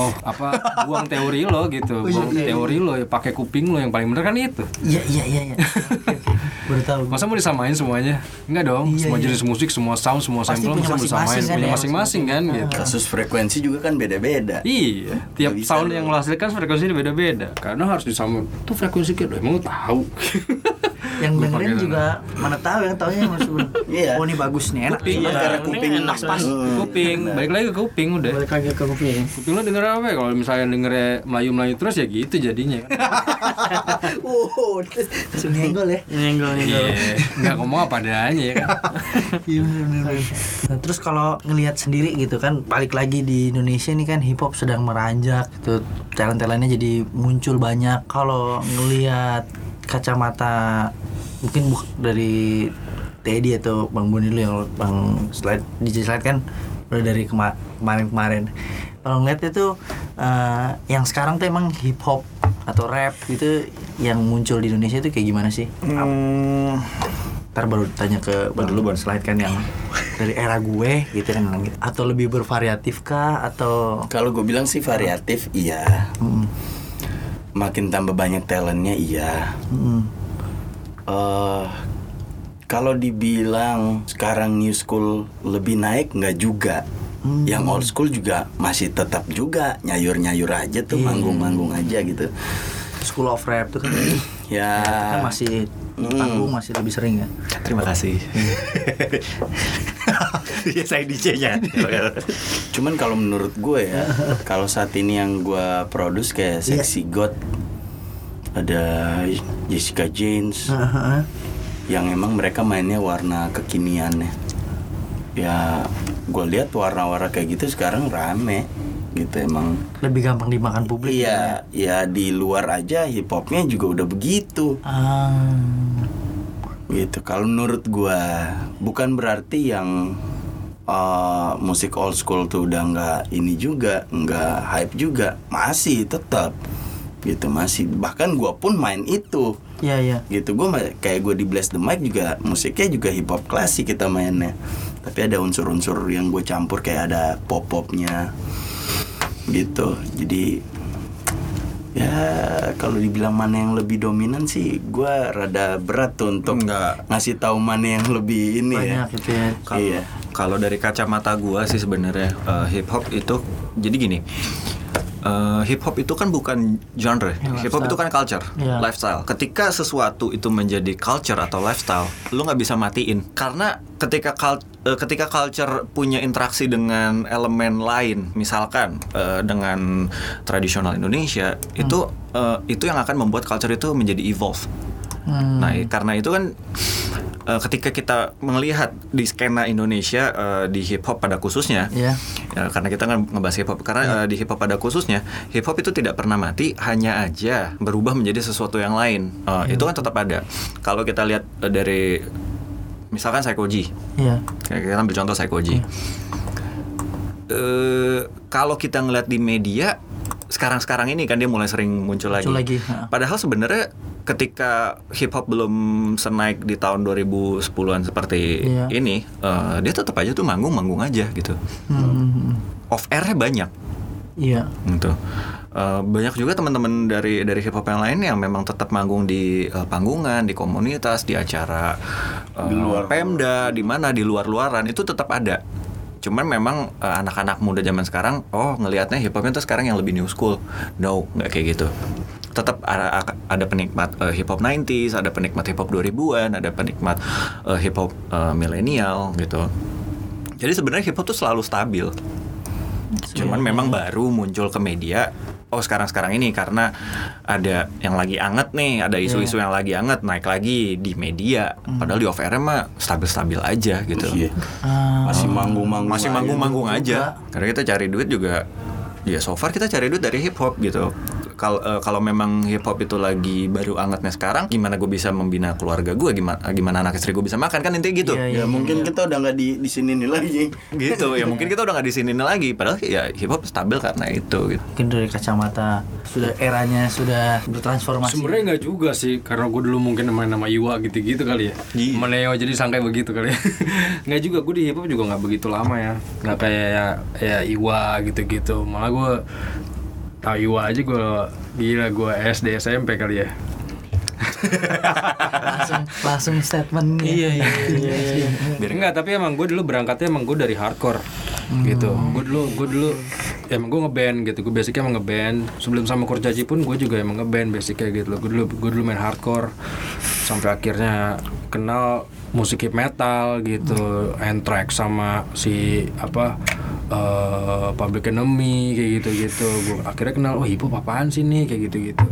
oh apa buang teori lo
Oh,
gitu buang teori lo ya pakai kuping lo yang paling bener kan itu
iya iya iya iya Oke, oke. baru tahu gua.
Masa mau disamain semuanya? Enggak dong. semua jenis musik, semua sound, semua
Iya, Pasti
sampel
punya
masa mau disamain.
masing-masing kan
punya
ya,
masing-masing kan gitu.
Kasus frekuensi juga kan beda-beda.
Iya, tiap
bisa
sound
dong.
yang lo hasilkan frekuensinya beda-beda. Karena harus disamain. Tuh frekuensi kita emang lo tahu.
yang
Gua
dengerin
pakai
juga mana tahu yang taunya yang masuk
Iya.
oh ini bagus nih enak
Iya, karena kuping
enak pas.
Hmm.
kuping, balik lagi ke kuping udah.
Balik lagi ke kuping.
Kuping lo denger apa ya? Kalau misalnya dengernya Melayu-Melayu terus ya gitu jadinya.
wow langsung nyenggol ya
Nyenggol nyenggol.
Iya, nggak ngomong apa adanya ya kan.
Iya benar Nah, terus kalau ngelihat sendiri gitu kan balik lagi di Indonesia ini kan hip hop sedang meranjak gitu. Talent-talentnya jadi muncul banyak. Kalau ngelihat kacamata mungkin bu- dari Teddy atau Bang Boni dulu yang lo- Bang Slide DJ Slide kan udah dari kema- kemarin-kemarin. Kalau ngeliatnya tuh eh, yang sekarang tuh emang hip hop atau rap gitu yang muncul di Indonesia itu kayak gimana sih? ntar baru tanya ke baru dulu baru slide kan yang dari era gue gitu kan gitu. atau lebih bervariatif kah atau
Kalau gue bilang sih variatif, iya.
Mm,
Makin tambah banyak talentnya, iya.
mm.
eh kalau dibilang sekarang new school lebih naik nggak juga.
Hmm.
Yang old school juga masih tetap juga nyayur-nyayur aja tuh,
Iya.
manggung-manggung
Hmm.
aja gitu.
School of Rap tuh kan,
Ya,
kan masih di
Mm.
panggung masih lebih sering ya
Terima kasih. ya saya DJ-nya.
cuman kalau menurut gue ya, kalau saat ini yang gue produce kayak
Iya.
Sexy God ada Jessica James
Heeh.
yang emang mereka mainnya warna kekinian ya. Ya, gue lihat warna-warna kayak gitu sekarang rame. gitu emang
Lebih gampang dimakan publik.
iya ya di luar aja hip hopnya juga udah begitu
Ah,
gitu kalau menurut gua bukan berarti yang uh, musik old school tuh udah nggak ini juga nggak hype juga masih tetap gitu masih bahkan gua pun main itu
iya iya.
gitu gue kayak gue di Bless the Mic juga musiknya juga hip hop klasik kita mainnya tapi ada unsur-unsur yang gue campur kayak ada pop popnya gitu jadi ya kalau dibilang mana yang lebih dominan sih gue rada berat tuh untuk
Enggak.
ngasih tahu mana yang lebih ini
Banyak
ya
gitu ya.
Kalau
Iya.
kalau dari kacamata gua sih sebenarnya eh, hip hop itu jadi gini. eh, hip hop itu kan bukan genre. hip hop itu kan culture,
Iya.
lifestyle. Ketika sesuatu itu menjadi culture atau lifestyle, lu nggak bisa matiin karena ketika kal eh, ketika culture punya interaksi dengan elemen lain, misalkan eh, dengan tradisional Indonesia, itu eh, itu yang akan membuat culture itu menjadi evolve. Nah, i- karena itu kan eh, ketika kita melihat di skena Indonesia eh, di hip hop pada khususnya,
Iya.
ya, karena kita kan ngebahas hip hop, karena eh, di hip hop pada khususnya hip hop itu tidak pernah mati, hanya aja berubah menjadi sesuatu yang lain. Eh, Itu kan tetap ada. Kalau kita lihat eh, dari misalkan Psychoji,
Iya.
Kayak kita ambil contoh psikoji. Eh, kalau kita ngeliat di media sekarang-sekarang ini kan dia mulai sering muncul lagi.
Muncul lagi, ha.
Padahal sebenarnya ketika hip hop belum senaik di tahun 2010-an seperti
Iya.
ini, eh, dia tetap aja tuh manggung-manggung aja gitu.
Hmm,
Off airnya banyak
Iya.
gitu. Eh, banyak juga teman-teman dari dari hip hop yang lain yang memang tetap manggung di eh, panggungan, di komunitas, di acara eh, Pemda, di mana di luar-luaran itu tetap ada. Cuman memang eh, anak-anak muda zaman sekarang oh ngelihatnya hip hopnya tuh sekarang yang lebih new school. No, nggak kayak gitu. Tetap ada, ada penikmat eh, hip hop 90s, ada penikmat hip hop 2000-an, ada penikmat eh, hip hop eh, milenial gitu. Jadi sebenarnya hip hop tuh selalu stabil cuman memang baru muncul ke media oh sekarang sekarang ini karena ada yang lagi anget nih ada
Iya.
isu-isu yang lagi anget naik lagi di media
Hmm.
padahal di off air mah stabil-stabil aja gitu
Iya.
Ah,
masih manggung-manggung
masih
aja.
manggung-manggung aja karena kita cari duit juga ya so far kita cari duit dari hip hop gitu kalau eh, kalau memang hip hop itu lagi baru angetnya sekarang gimana gue bisa membina keluarga gue gimana gimana anak istri gue bisa makan kan intinya gitu
Iya, iya.
ya mungkin kita udah nggak di di sini nih lagi
gitu ya mungkin kita udah nggak di sini lagi padahal ya hip hop stabil karena itu gitu
Mungkin dari kacamata sudah eranya sudah bertransformasi.
Sebenarnya nggak juga sih, karena gue dulu mungkin main nama Iwa gitu-gitu kali ya.
Iya.
Meneo jadi sangkai begitu kali. ya. nggak juga, gue di hip hop juga nggak begitu lama ya. Nggak kayak ya, ya Iwa gitu-gitu. Malah gue tahu Iwa aja gue gila gue SD SMP kali ya.
langsung kan? langsung statement
Iya, iya, iya, iya.
Enggak, tapi emang gue dulu berangkatnya emang gue dari hardcore gitu. Gue dulu gue dulu ya emang gue ngeband gitu. Gue basicnya emang ngeband. Sebelum sama Kurcaci pun gue juga emang ngeband basicnya gitu loh. Gue dulu gue dulu main hardcore sampai akhirnya kenal musik hip metal gitu, Anthrax sama si apa eh, Public Enemy kayak gitu-gitu. Gue akhirnya kenal oh hip hop apaan sih nih kayak gitu-gitu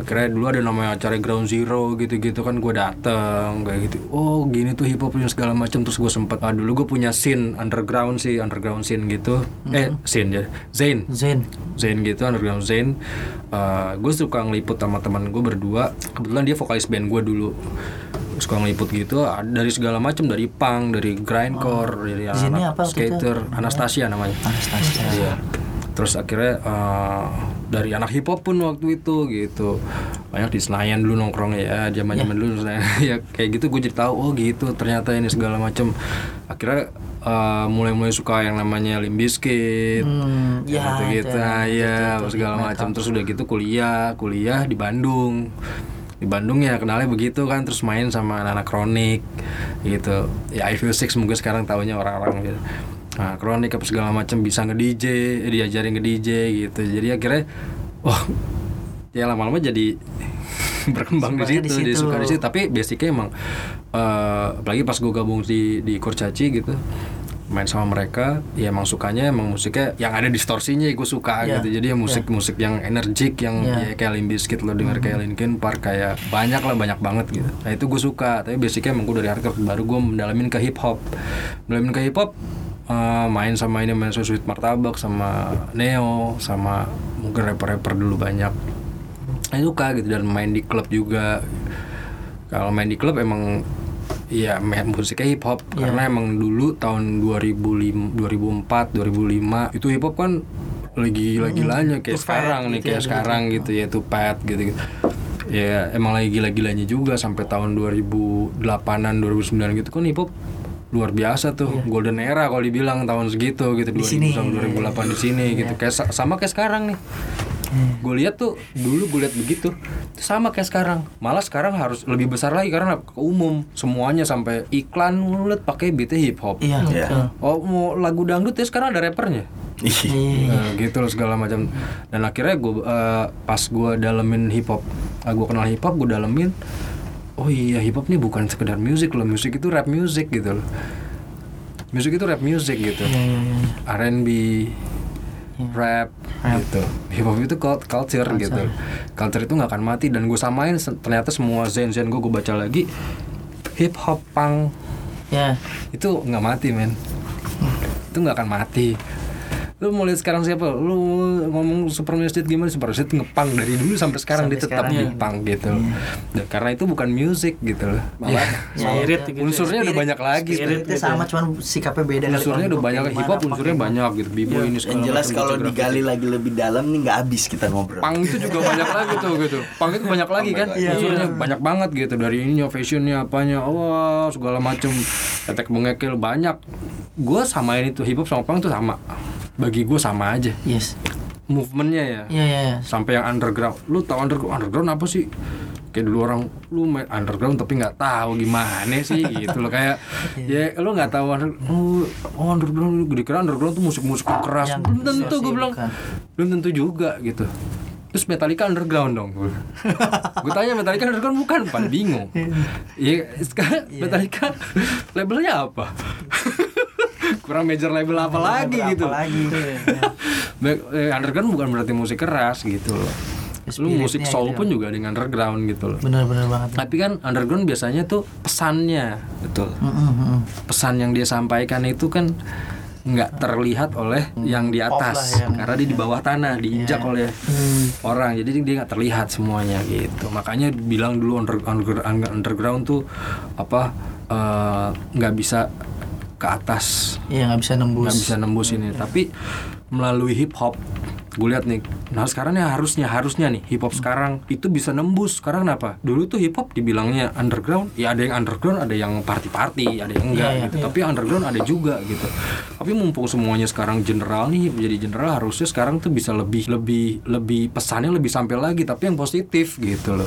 akhirnya dulu ada namanya acara Ground Zero gitu-gitu kan gue dateng kayak gitu oh gini tuh hip hopnya segala macam terus gue sempet ah dulu gue punya scene underground sih underground scene gitu eh scene ya Zain
Zain
Zain gitu underground Zain Eh, gue suka ngeliput sama teman gue berdua kebetulan dia vokalis band gue dulu suka ngeliput gitu ah, dari segala macam dari punk dari grindcore dari
Zainnya
anak
Oh. apa waktu itu?
skater Anastasia namanya
Anastasia
Iya. Terus akhirnya eh, dari anak hip hop pun waktu itu gitu banyak di Senayan dulu nongkrongnya ya zaman zaman
Iya.
dulu Senayan. ya kayak gitu gue jadi tahu oh gitu ternyata ini segala macam akhirnya eh, mulai-mulai suka yang namanya Limbiskit
Hmm, ya, Nah,
gitu gitu
ada.
ya segala macam terus udah gitu kuliah kuliah di Bandung di Bandung ya kenalnya begitu kan terus main sama anak-anak kronik gitu ya I feel six mungkin sekarang tahunya orang-orang gitu nah kronik apa segala macam bisa nge DJ diajarin nge DJ gitu jadi akhirnya wah ya lama-lama jadi berkembang di
Sukanya
situ,
di
jadi
situ.
suka di situ. Tapi basicnya emang, eh, apalagi pas gue gabung di di Kurcaci gitu, main sama mereka, ya emang sukanya emang musiknya yang ada distorsinya gue suka
Iya,
gitu. Jadi ya musik musik yang energik, yang
Iya. Mhm.
ya kayak Limp Bizkit lo denger kayak Linkin Park kayak banyak lah banyak banget gitu. Nah itu gue suka. Tapi basicnya emang gue dari hardcore baru gue mendalamin ke hip hop, mendalamin ke hip hop. eh, main sama ini main sama Sweet Martabak sama Neo sama mungkin rapper-rapper dulu banyak saya suka gitu dan main di klub juga kalau main di klub emang ya main musiknya hip hop karena emang dulu tahun 2005 2004 2005 itu hip hop kan lagi gila-gilanya kayak sekarang nih kayak sekarang gitu ya itu pet gitu gitu ya emang lagi gila-gilanya juga sampai tahun 2008an 2009 gitu kan hip hop luar biasa tuh golden era kalau dibilang tahun segitu gitu 2000
Iya. sini. Iya.
sampai 2008 di sini gitu kayak sa- sama kayak sekarang nih gue lihat tuh dulu gue lihat begitu Itu sama kayak sekarang malah sekarang harus lebih besar lagi karena ke umum semuanya sampai iklan lu lihat pakai beatnya hip hop
Iya.
Iya.
oh mau lagu dangdut ya sekarang ada rappernya
Ih,
Nah, gitu loh segala macam dan akhirnya gue pas gue dalemin hip hop gue kenal hip hop gue dalemin oh iya hip hop nih bukan sekedar musik loh musik itu rap music gitu loh musik itu rap music gitu R&B Iya. rap, gitu hip hop itu cult- culture, gitu culture itu nggak akan mati dan gue samain se- ternyata semua zen zen gue gue baca lagi hip hop punk
Iya.
Ya.
itu nggak mati men itu nggak akan mati lu mau lihat sekarang siapa lu ngomong super music gimana super music ngepang dari dulu sampai sekarang dia tetap
iya.
ngepang gitu Dan karena itu bukan music gitu loh malah
Spirit gitu.
unsurnya udah
Spirit-
banyak lagi
ya.
Spiritnya sama cuman sikapnya beda kali.
unsurnya udah banyak hip hop unsurnya banyak gitu bibo ini
Iya. yang
segala
jelas
macam,
kalau
macam grafis.
digali lagi lebih dalam nih nggak habis kita ngobrol.
Pang itu
Iya.
juga banyak lagi tuh gitu. Pang itu banyak lagi kan. Unsurnya banyak banget gitu dari ininya fashionnya apanya. Wah, segala macem Tetek mengekil banyak. Gue samain itu hip hop sama pang itu sama. Bagi gue sama aja.
Yes.
Movementnya ya.
Iya, iya, iya.
Sampai yang underground. Lu tahu underground underground apa sih? Kayak dulu orang lu main underground tapi nggak tahu gimana sih gitu loh kayak ya lu nggak tahu under, oh, oh, underground lu gede kira underground tuh musik-musik keras. Belum tentu gue bilang belum tentu juga gitu terus Metallica underground dong gue gue tanya Metallica underground bukan pan bingung ya sekarang Metallica labelnya apa Iya. kurang major label apa lagi gitu
Lagi.
Baik, eh, underground bukan berarti musik keras gitu loh lu musik
gitu ya.
soul pun juga dengan underground gitu loh
Bener-bener banget.
tapi kan underground biasanya tuh pesannya betul pesan yang dia sampaikan itu kan nggak terlihat oleh yang di atas
lah ya. Iya. Hmm.
karena dia di bawah tanah diinjak oleh orang jadi dia nggak terlihat semuanya gitu makanya bilang dulu under- under- underground tuh apa eh, nggak bisa ke atas
Iya nggak bisa
nggak
nembus.
bisa nembus ini tapi melalui hip hop gue lihat nih nah sekarang ya harusnya harusnya nih hip hop sekarang itu bisa nembus sekarang kenapa dulu tuh hip hop dibilangnya underground ya ada yang underground ada yang party party ada yang enggak gitu tapi underground ada juga gitu tapi mumpung semuanya sekarang general nih menjadi general harusnya sekarang tuh bisa lebih lebih lebih pesannya lebih sampai lagi tapi yang positif gitu loh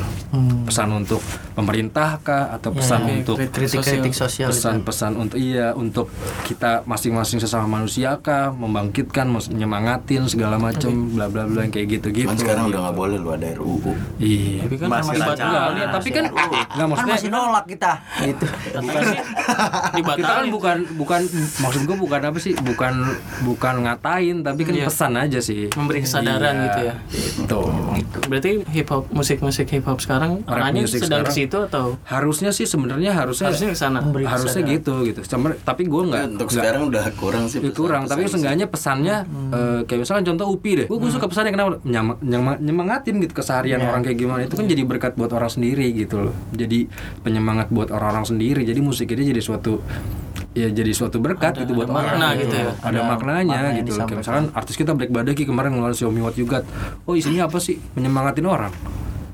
pesan untuk pemerintah kah atau pesan untuk
Kritik-kritik sosial.
pesan-pesan untuk iya untuk kita masing-masing sesama manusia kah membangkitkan mes- menyemangatin segala macam
iya.
bla bla bla yang kayak gitu gitu
Cuman sekarang udah nggak boleh lu ada RUU.
iya
Tapi kan
Masih
masih
rancangan.
batal.
Iya, tapi kan nggak
Kan
maksudnya
masih nolak kita. Gitu.
kita kan
Dibatalin.
bukan bukan maksud gue bukan apa sih bukan bukan ngatain tapi kan pesan aja sih
Iya. Memberi kesadaran gitu ya.
gitu
Berarti hip hop musik-musik hip hop sekarang arahnya
music
sedang ke
sekarang.
situ atau
harusnya sih sebenarnya harusnya
harusnya ke sana?
harusnya gitu gitu Cuma- tapi gue nggak
Untuk
nggak-
sekarang udah kurang sih.
Ya, Nah, kurang tapi seenggaknya pesannya
Hmm.
eh, kayak misalnya contoh upi deh gue suka pesannya kenapa Nyama- nyema- nyemangatin gitu keseharian
Iya.
orang kayak gimana itu kan jadi berkat buat orang sendiri gitu loh jadi penyemangat buat orang-orang sendiri jadi musik ini jadi suatu ya jadi suatu berkat gitu buat orang
makna gitu ya.
ada, maknanya gitu loh kayak misalkan artis kita Black Badaki kemarin ngeluarin Xiaomi What You Got oh isinya apa sih menyemangatin orang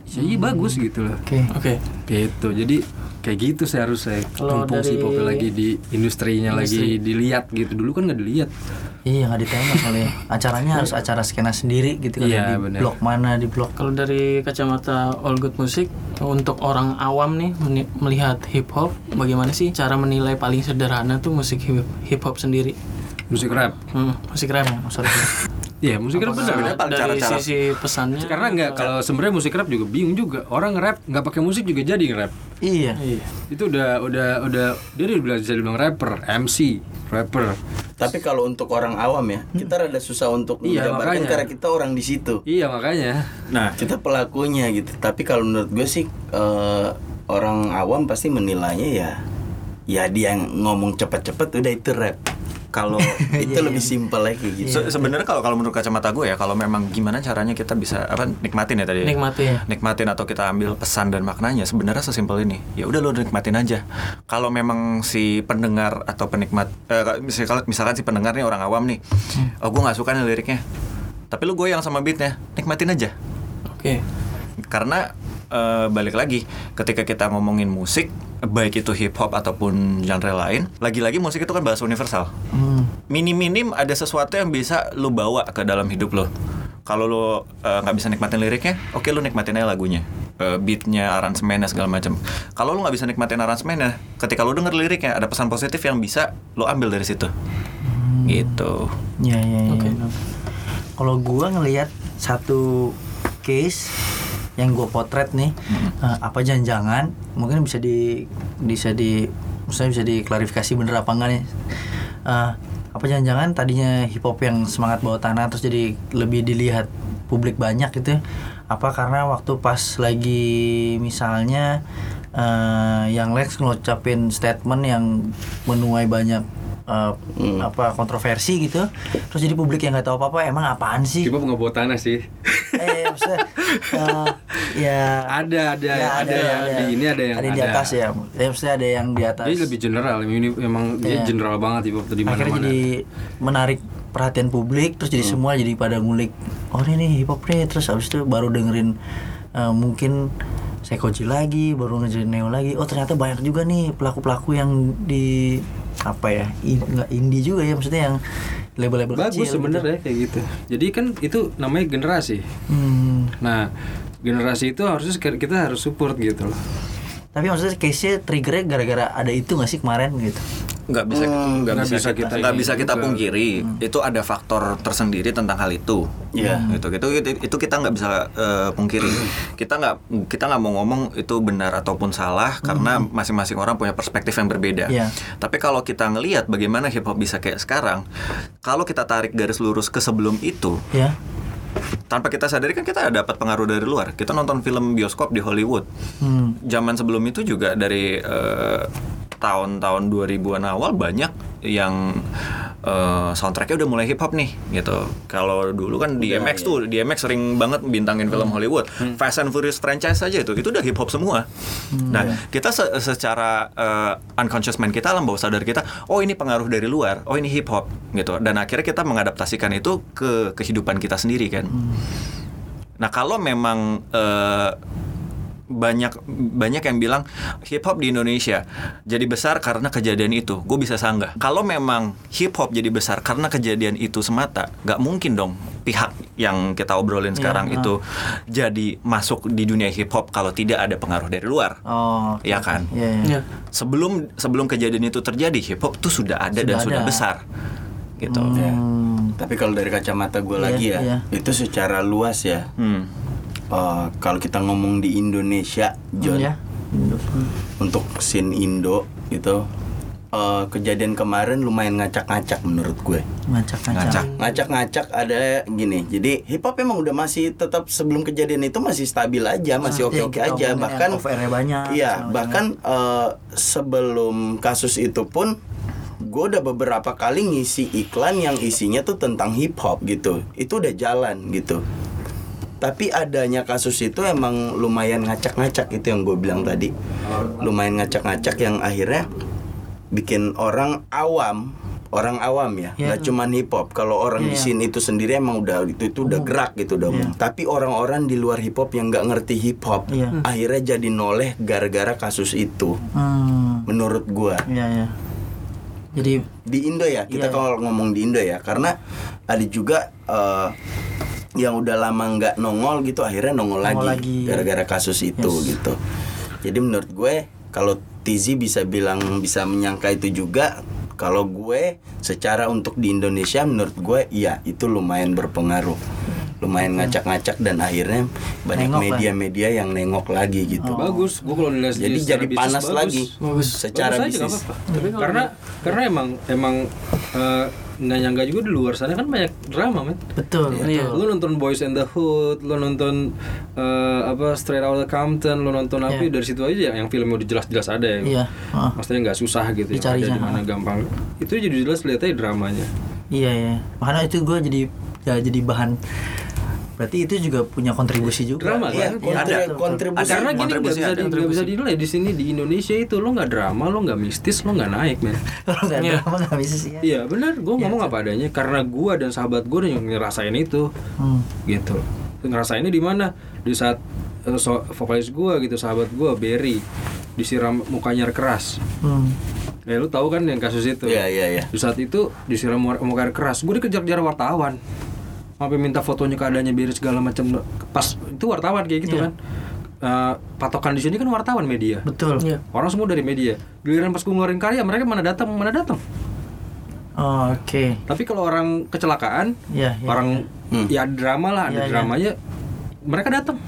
Ya, iya bagus gitu loh
Hmm. Oke.
gitu jadi kayak gitu seharusnya
Kalau
mumpung si
dari-
Pope lagi di industrinya lagi dilihat gitu dulu kan nggak dilihat
Iya nggak ditembak kali. ya. Acaranya harus acara skena sendiri gitu kan.
Iya,
di
bener.
blok mana di blok.
Kalau dari kacamata All Good Music untuk orang awam nih meni- melihat hip hop, bagaimana sih cara menilai paling sederhana tuh musik hip hip hop sendiri?
musik rap
Hmm, musik rap.
Sorry.
Iya musik rap bener
Nah, dari sisi pesannya
Karena nggak kalau sebenarnya musik rap juga bingung juga orang rap nggak pakai musik juga jadi rap
iya.
itu udah udah udah dia udah bilang jadi bilang rapper MC rapper
Tapi kalau untuk orang awam ya, kita
Hmm.
rada susah untuk
Iya,
menjabarkan
makanya.
karena kita orang di situ.
iya makanya
Nah,
Kita pelakunya gitu. Tapi kalau menurut gue sih eh, orang awam pasti menilainya ya ya dia yang ngomong cepet-cepet udah itu rap. kalau
Iya,
itu lebih simpel lagi gitu
Se- Sebenarnya kalau kalau menurut kacamata gue ya kalau memang gimana caranya kita bisa apa nikmatin ya tadi ya?
Nikmatin.
nikmatin atau kita ambil pesan dan maknanya sebenarnya sesimpel ini ya udah lo nikmatin aja kalau memang si pendengar atau penikmat eh, misalkan, misalkan si pendengarnya orang awam nih oh gue nggak suka nih liriknya tapi lu gue yang sama beatnya nikmatin aja
Oke.
karena eh, balik lagi ketika kita ngomongin musik baik itu hip hop ataupun genre lain lagi-lagi musik itu kan bahasa universal minim-minim ada sesuatu yang bisa lu bawa ke dalam hidup lo kalau lo eh, nggak bisa nikmatin liriknya oke lu nikmatin aja lagunya Eh, beatnya aransemennya segala macam kalau lu nggak bisa nikmatin aransemennya ketika lu denger liriknya ada pesan positif yang bisa lo ambil dari situ gitu
Ya, ya, ya.
Oke.
Kalau gua ngelihat satu case yang gua potret nih,
Hmm.
eh, apa jangan-jangan mungkin bisa di bisa di maksudnya bisa diklarifikasi bener apa enggak nih? Eh, apa jangan-jangan tadinya hip hop yang semangat bawa tanah terus jadi lebih dilihat publik banyak gitu? ya? Apa karena waktu pas lagi misalnya eh, yang Lex ngucapin statement yang menuai banyak eh, apa kontroversi gitu terus jadi publik yang nggak tahu apa apa emang apaan sih
Tipe pengebot tanah sih.
eh maksudnya eh, ya
Ada, ada,
ya,
ada yang di ini, ada yang
di
ada.
atas ya ya maksudnya ada yang di atas
Dia lebih general, ini emang dia
Iya.
general banget tipe di
akhirnya
mana-mana.
jadi menarik perhatian publik terus jadi semua jadi pada ngulik oh ini nih hip hop nih terus habis itu baru dengerin eh, mungkin Sekoji lagi baru ngejerin Neo lagi oh ternyata banyak juga nih pelaku-pelaku yang di apa ya in- nggak indie juga ya maksudnya yang label-label kecil
Bagus
gitu.
sebenarnya kayak gitu. Jadi kan itu namanya generasi.
Hmm.
Nah, generasi itu harusnya sekar- kita harus support gitu loh.
Tapi maksudnya case-nya triggernya gara-gara ada itu nggak sih kemarin gitu?
nggak bisa nggak
nggak
bisa,
bisa
kita
kita
nggak
ini gitu.
bisa kita
juga.
pungkiri itu ada faktor tersendiri tentang hal itu
Iya.
gitu itu itu, itu kita nggak bisa eh, pungkiri kita nggak kita nggak mau ngomong itu benar ataupun salah karena masing-masing orang punya perspektif yang berbeda
Iya.
tapi kalau kita ngelihat bagaimana hip hop bisa kayak sekarang kalau kita tarik garis lurus ke sebelum itu
Ya.
tanpa kita sadari kan kita dapat pengaruh dari luar. Kita nonton film bioskop di Hollywood.
Hmm.
Zaman sebelum itu juga dari eh, tahun-tahun 2000-an awal banyak yang eh, soundtracknya udah mulai hip hop nih gitu. Kalau dulu kan DMX tuh, DMX sering banget bintangin film Hollywood. Fast and Furious franchise aja itu, itu udah hip hop semua. nah, kita se- secara eh, unconscious mind kita alam bawah sadar kita, oh ini pengaruh dari luar, oh ini hip hop gitu. Dan akhirnya kita mengadaptasikan itu ke kehidupan kita sendiri kan. Nah kalau memang eh, banyak banyak yang bilang hip hop di Indonesia jadi besar karena kejadian itu, gue bisa sanggah. Kalau memang hip hop jadi besar karena kejadian itu semata, nggak mungkin dong pihak yang kita obrolin sekarang itu jadi masuk di dunia hip hop kalau tidak ada pengaruh dari luar,
Oh. oke.
Iya kan?
Iya. iya.
Iya.
Sebelum sebelum kejadian itu terjadi, hip hop tuh sudah ada dan
Sudah
sudah
ada.
besar, gitu.
Hmm.
Ya. tapi kalau dari kacamata gue
Iya,
lagi ya
iya.
itu secara luas ya
Hmm.
eh, kalau kita ngomong di Indonesia John
Iya.
untuk scene Indo gitu eh, kejadian kemarin lumayan ngacak-ngacak menurut gue
Ngacak-ngacak.
ngacak-ngacak ada gini jadi hip hop emang udah masih tetap sebelum kejadian itu masih stabil aja masih
Ah,
oke oke
iya, kita
aja
omongin
bahkan
yang off-air-nya banyak,
iya
segala
bahkan eh, sebelum kasus itu pun gue udah beberapa kali ngisi iklan yang isinya tuh tentang hip hop gitu itu udah jalan gitu tapi adanya kasus itu emang lumayan ngacak-ngacak itu yang gue bilang tadi lumayan ngacak-ngacak yang akhirnya bikin orang awam orang awam ya
Iya.
nggak cuman hip hop kalau orang di
Iya.
scene itu sendiri emang udah itu itu udah gerak gitu udah umum. tapi orang-orang di luar hip hop yang nggak ngerti hip hop
Iya.
akhirnya jadi noleh gara-gara kasus itu
Hmm.
menurut gua
Iya iya. Jadi
di Indo ya kita
Iya.
kalau ngomong di Indo ya karena ada juga eh, yang udah lama nggak nongol gitu akhirnya nongol,
Nongol
lagi
lagi.
gara-gara kasus itu
Yes.
gitu jadi menurut gue kalau Tizi bisa bilang bisa menyangka itu juga kalau gue secara untuk di Indonesia menurut gue iya itu lumayan berpengaruh lumayan ngacak-ngacak dan akhirnya banyak
Hmm. Nengok lah.
media-media yang nengok lagi
Oh.
gitu
Bagus, gua kalau nilai
jadi
secara
jadi
bisnis
panas
bagus.
lagi
Bagus.
secara
Bagus aja,
bisnis
nggak apa-apa. Tapi kalau- karena karena emang emang eh, nggak nyangka juga di luar sana kan banyak drama men
Betul, betul.
Iya.
Lu nonton Boys and the Hood, lu nonton eh, apa Straight Outta Compton, lu nonton apa
Iya.
dari situ aja yang filmnya udah jelas-jelas ada ya.
Iya, ah.
Maksudnya nggak susah gitu yang
Dicarinya,
ada di mana
ah.
gampang. Itu jadi jelas lihat aja dramanya.
Iya ya. Makanya itu gue jadi ya, jadi bahan. Berarti itu juga punya kontribusi juga.
Drama
Iya,
kan?
kontri-
Ada.
kontribusi.
Ah, Karena gini nggak
kontribusi
bisa,
ada.
di, nggak bisa dinilai di sini di Indonesia itu lo nggak drama, lo nggak mistis, lo nggak naik men.
Kalau nggak
Iya.
drama nggak bisa sih. ya.
Iya benar, gue ngomong apa adanya karena gue dan sahabat gue yang ngerasain itu,
Hmm.
gitu. Ngerasainnya di mana? Di saat eh, so, vokalis gue gitu, sahabat gue Berry disiram mukanya air keras.
Hmm.
Ya lu tahu kan yang kasus itu.
Iya, iya,
Ya.
iya.
Di saat itu disiram mu- muka air keras, gue dikejar-kejar wartawan. Sampai minta fotonya keadaannya Berry segala macam. Pas itu wartawan kayak gitu kan. Eh, patokan di sini kan wartawan
Iya.
media.
Betul.
Iya.
Orang semua dari media. Giliran pas gue ngeluarin karya, mereka mana datang, mana datang.
Oh, Oke.
Tapi kalau orang kecelakaan,
Iya, iya,
orang ya drama lah,
Iya,
ada
iya.
dramanya, mereka datang.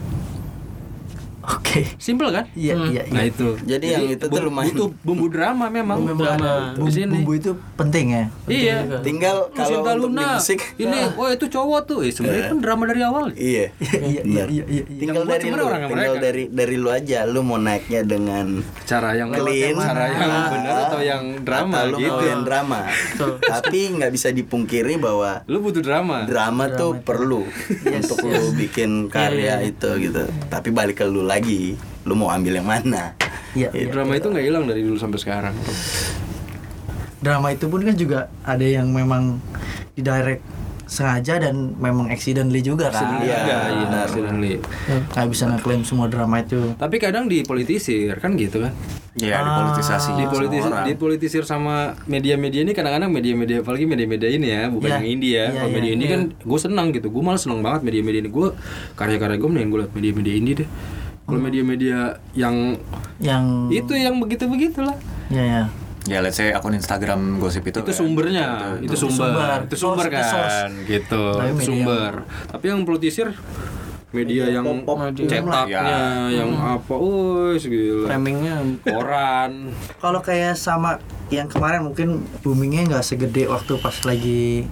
Oke.
Simple kan?
Iya,
Hmm.
iya, iya.
Nah itu.
Jadi yang itu tuh
bu-
lumayan.
butuh bumbu drama memang.
Bumbu drama.
Di sini.
Bumbu itu penting ya.
Iya.
Tinggal kalau
Cinta
untuk di
Luna.
musik.
Ini, wah itu cowok tuh. Eh, sebenarnya kan drama dari awal.
Iya.
Iya, iya,
Benar.
iya, iya. iya.
Tinggal
Yang buat
dari
cuma
lu,
orang
tinggal
mereka.
dari dari lu aja lu mau naiknya dengan
Cara yang
clean,
cara yang
nah,
benar atau yang drama
atau lu
gitu.
mau yang drama. Tapi nggak bisa dipungkiri bahwa
Lu butuh drama.
drama, tuh perlu untuk lu
Iya,
bikin karya itu gitu. Tapi balik ke lu lagi, lu mau ambil yang mana?
Iya,
Gitu.
iya.
drama itu nggak hilang dari dulu sampai sekarang.
drama itu pun kan juga ada yang memang didirect sengaja dan memang accidentally juga
Iya,
kan
Iya, iya,
benar.
accidentally.
nggak bisa ngeklaim semua drama itu
Tapi kadang dipolitisir kan gitu kan.
Iya,
Ah.
dipolitisasi.
dipolitisir
sama orang.
dipolitisir sama media-media ini kadang-kadang media-media apalagi media-media ini ya bukan
Iya.
yang indie ya
Iya,
kalau
iya,
media indie kan gue senang gitu gue malah senang banget media-media ini gue karya-karya gue mending gue liat media-media indie deh kalau
Hmm.
media-media yang
yang
itu yang begitu begitulah
ya ya
Ya, let's say akun Instagram gosip itu.
itu
ya.
sumbernya itu, sumber.
sumber.
itu sumber
Source, itu source.
kan gitu
Tapi
itu
media-
sumber tapi yang politisir media yang
Iya.
cetaknya yang
Hmm.
apa woi gila
Framingnya
koran
kalau kayak sama yang kemarin mungkin boomingnya nggak segede waktu pas lagi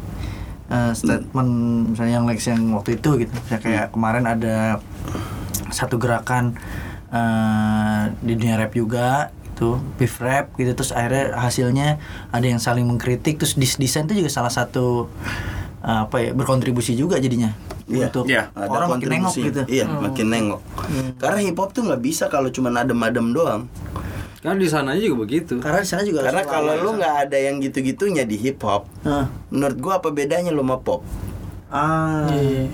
eh, statement misalnya yang Lex yang waktu itu gitu Misalnya kayak
Hmm.
kemarin ada satu gerakan eh, di dunia rap juga itu beef rap gitu terus akhirnya hasilnya ada yang saling mengkritik terus dis desain itu juga salah satu eh, apa ya berkontribusi juga jadinya
Iya,
untuk
iya.
Ada
orang makin nengok
kontribusi.
gitu
Iya, makin nengok. Karena hip hop tuh nggak bisa kalau cuma adem-adem doang.
kan di sananya juga begitu
karena di sana juga ya.
Karena kalau lu nggak ada yang gitu-gitunya di hip hop,
Nah,
menurut gua apa bedanya lu sama pop?
ah
Iya.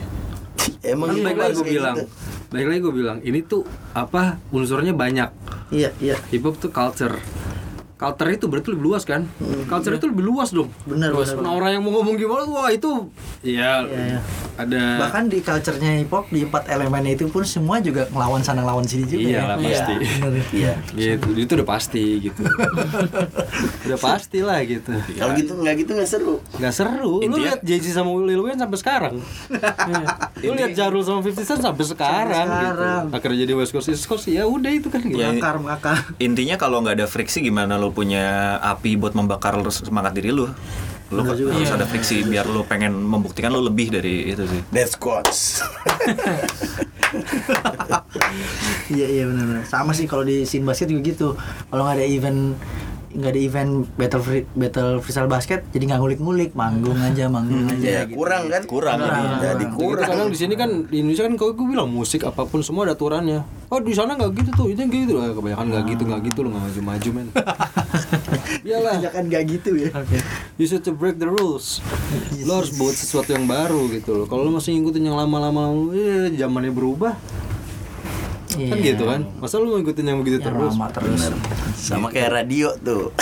Emang
Kan
hip
baik
hop
lagi
harus
gue
kayak
bilang
gitu?
Baik lagi gue bilang Ini tuh apa unsurnya banyak
iya iya
Hip hop tuh culture Culture itu berarti lebih luas kan Culture itu lebih luas dong
benar
Luas.
benar
Nah, orang yang mau ngomong gimana Wah itu Ya
Iya, iya.
Ada
bahkan di culture-nya hip hop di empat elemennya itu pun semua juga ngelawan sana ngelawan sini juga
Iya
ya.
lah pasti
Bener ya.
Iya.
Gitu Itu udah pasti gitu Udah pasti lah gitu
Kalau gitu nggak gitu nggak seru.
Gak seru Lu
Intinya-
liat Jay-Z sama Lil Wayne sampai sekarang Iya. Lu liat Jarul sama 50 Cent sampai sekarang,
sekarang.
gitu Akhirnya jadi West Coast East Coast Ya udah itu kan gitu
Ya,
Mengakar, mengakar.
Intinya kalau nggak ada friksi gimana lu punya api buat membakar semangat diri lu? Lu harus ada friksi biar lu pengen membuktikan lu lebih dari itu sih.
That's quotes.
iya iya benar benar sama sih kalau di scene basket juga gitu kalau nggak ada event nggak ada event battle free, battle freestyle basket jadi nggak ngulik-ngulik manggung aja manggung aja
ya kurang kan? Kurang. Jadi
Gitu,
kurang.
kadang di sini kan di Indonesia kan kalau gue bilang musik apapun semua ada aturannya. Oh di sana nggak gitu tuh, itu yang gitu lah. Kebanyakan nggak gitu nggak gitu lo nggak maju-maju men. Iyalah,
kan nggak gitu ya
you should to break the rules. Lo harus buat sesuatu yang baru gitu loh. Kalau lo masih ngikutin yang lama-lama, eh, zamannya berubah. Kan gitu kan. Masa lo mau ngikutin yang begitu
yang
terus?
Ya, lama Iya, terus
Sama kayak radio tuh.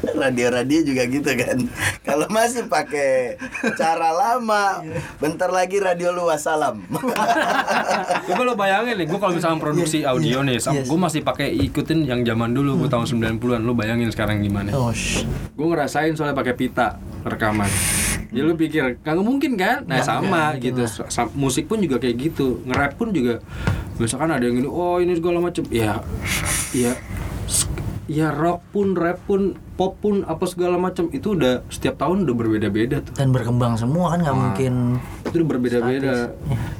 Radio-radio juga gitu kan. Kalau masih pakai cara lama,
Iya.
bentar lagi radio luas salam.
Coba lo bayangin nih, gue kalau misalnya produksi
Iya,
audio nih,
yes.
gue masih pakai ikutin yang zaman dulu, gue tahun 90-an, lo bayangin sekarang gimana?
Hmm. oh sh-
gue ngerasain soalnya pakai pita rekaman ya lu pikir kagak mungkin kan nah sama gitu Sa- musik pun juga kayak gitu nge-rap pun juga misalkan ada yang gini oh ini segala macem ya ya s- ya rock pun rap pun pop pun apa segala macam itu udah setiap tahun udah berbeda-beda tuh
dan berkembang semua kan nggak mungkin
itu udah berbeda-beda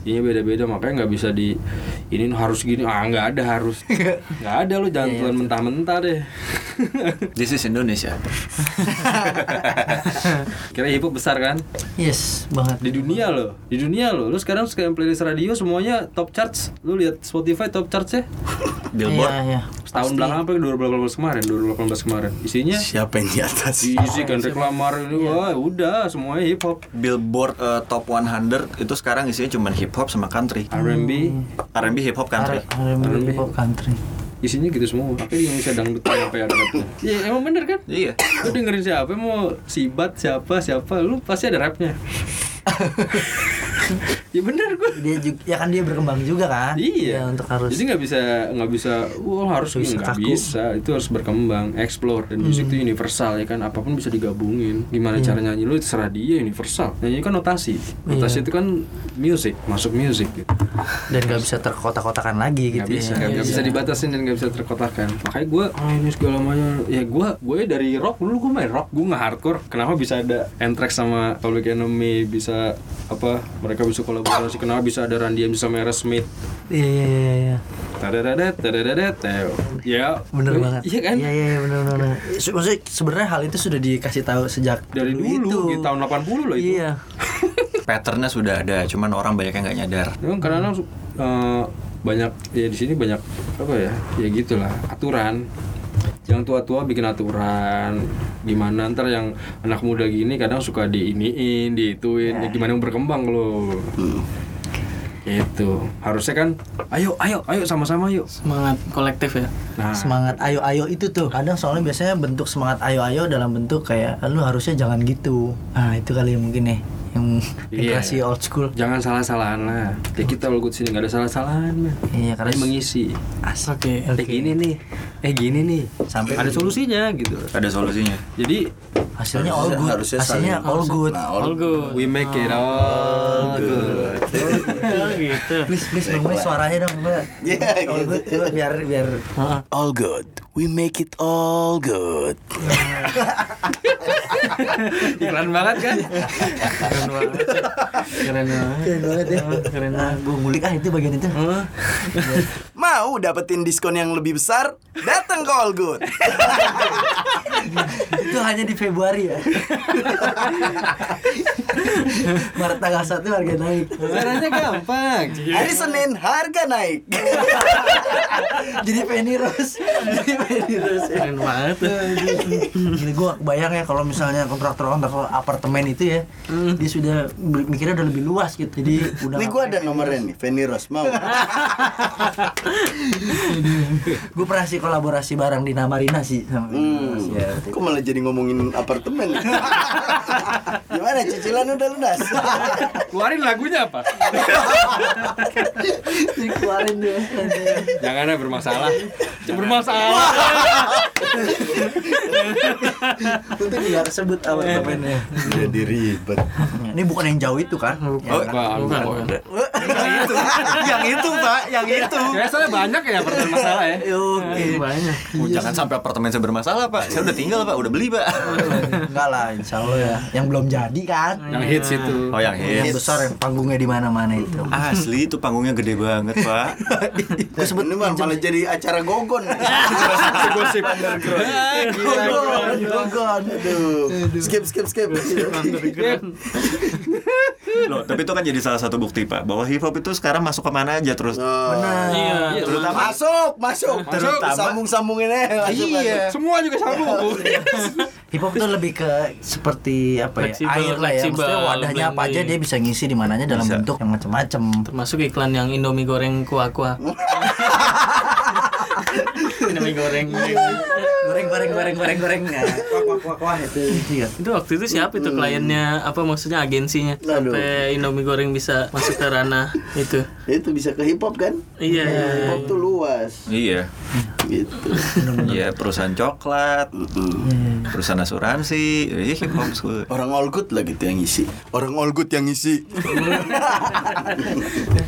iya beda-beda makanya nggak bisa di ini harus gini ah nggak ada harus nggak ada lo jangan telan mentah-mentah deh
This is Indonesia.
kira hip hop besar kan
yes banget
di dunia lo di dunia lo lo sekarang sekarang playlist radio semuanya top charts lo lihat Spotify top charts ya
Billboard.
Iya, iya.
setahun belakang apa 2018 kemarin 2018 kemarin isinya
Siapa yang di atas?
isi kan reklamar ini wah udah semuanya hip hop
Billboard eh, Top 100 itu sekarang isinya cuma hip hop sama country.
R&B
R&B hip hop country.
R&B hip hop country
isinya gitu semua tapi di Indonesia dangdut apa ya rapnya ya emang bener kan
Iya.
lu dengerin siapa mau sibat siapa siapa lu pasti ada rapnya ya bener gue
dia juga ya kan dia berkembang juga kan Ya,
iya
untuk harus
jadi nggak bisa nggak bisa wah harus
Bisa
nggak
kaku. Hmm.
bisa itu harus berkembang explore dan musik itu universal ya kan apapun bisa digabungin gimana
Iya.
cara nyanyi lu terserah dia universal nyanyi kan notasi notasi itu kan music masuk music gitu
dan nggak bisa terkotak-kotakan lagi gitu
nggak bisa
ya
nggak nggak bisa dibatasin dan nggak bisa terkotakkan Iya. makanya gue ah ini segala macam ya gue gue dari rock dulu gue main rock gue nggak hardcore kenapa bisa ada Anthrax sama Public Enemy bisa apa mereka bisa kolaborasi kenapa bisa ada Randy MC sama Aerosmith
iya iya iya iya
tadadadat tadadadat eh, ya
bener banget
iya kan
iya iya iya, bener bener, bener. Se- maksudnya sebenarnya hal itu sudah dikasih tahu sejak
dari dulu di tahun 80 loh itu
iya
Patternnya sudah ada, cuman orang banyak yang nggak nyadar.
Memang kadang-kadang su- eh, banyak ya di sini banyak apa ya ya gitulah aturan yang tua-tua bikin aturan gimana ntar yang anak muda gini kadang suka diiniin diituin ya gimana mau berkembang lo itu harusnya kan ayo ayo ayo sama-sama yuk
semangat kolektif ya
nah
semangat ayo-ayo itu tuh kadang soalnya biasanya bentuk semangat ayo-ayo dalam bentuk kayak lu harusnya jangan gitu nah itu kali yang mungkin nih yang
Iya.
generasi old school
jangan salah-salahan lah kayak kita lo sini nggak ada salah-salahan man.
iya karena
Tapi mengisi
oke
eh gini nih eh gini nih
Sampai-
ada solusinya gitu
Ada solusinya.
jadi
hasilnya all good
harusnya
hasilnya
saling-
all good
Nah, all
all good
we make it all good
Oh, gitu
please please Bang Boy, suaranya dong mbak
Iya,
all good coba biar biar
All good. We make it all good.
Iklan banget kan?
keren banget keren banget
keren banget ya
keren
nah, gue ngulik ah itu bagian itu
Mau dapetin diskon yang lebih besar? Datang ke All Good.
itu hanya di Februari ya Maret tanggal satu harga naik
Caranya gampang.
Hari Senin harga naik.
jadi Penny Rose jadi Penny Rose ya.
keren banget
Gini gue bayang ya kalau misalnya kontraktor kontraktor apartemen itu ya dia sudah ber- mikirnya udah lebih luas gitu jadi udah
Ini gua ada nomornya nih, Feni Rose. Mau.
gue pernah sih kolaborasi bareng di Namarina sih sama
Hmm.
ya,
Kok malah jadi ngomongin apartemen? ya? Gimana cicilan udah lunas?
Keluarin lagunya apa?
dikeluarin dia
Jangan ada bermasalah. Bermasalah.
itu nggak sebut apartemennya
Jadi ribet.
Iya, ini bukan yang jauh itu kan
Oh, bukan.
yang itu pak yang itu
Ya, soalnya banyak ya pertanyaan masalah ya.
oke
banyak
Oh, jangan sampai apartemen saya bermasalah, Pak. Saya udah tinggal, Pak. Udah beli, Pak.
Iya. enggak lah insya Allah ya yang belum jadi kan
Yang hits itu.
Oh, yang
yang
hits.
besar yang panggungnya di mana mana itu
Asli itu panggungnya gede banget, Pak.
Gue sebut ini mah malah jadi Iya, acara gogon.
Gosip.
Gogon, gogon.
Aduh. Skip skip skip.
Loh, tapi itu kan jadi salah satu bukti, Pak, bahwa hip hop itu sekarang masuk kemana aja terus.
Oh. Benar.
iya
Terutama
Masuk, masuk.
Terutama-
sambung-sambungin aja. Masuk, masuk.
Iya. Semua juga
Iya.
sambung.
Hip hop tuh lebih ke seperti apa ya?
Fleksibel,
air lah ya. Maksudnya
fleksibel,
wadahnya apa aja
blending.
dia bisa ngisi di mananya dalam bentuk yang macam-macam.
termasuk iklan yang Indomie goreng kuah kuah Indomie goreng
Goreng goreng goreng goreng goreng. Nah, Wah wah wah wah itu. Iya.
itu waktu itu siapa
Hmm.
itu kliennya apa maksudnya agensinya sampai Indomie goreng bisa masuk ke ranah itu
Itu bisa ke hip hop kan?
iya iya
Hip
iya.
hop tuh luas.
Iya.
gitu.
ya perusahaan coklat perusahaan asuransi ya hip hop school
Orang all good lah gitu yang ngisi. Orang all good yang ngisi.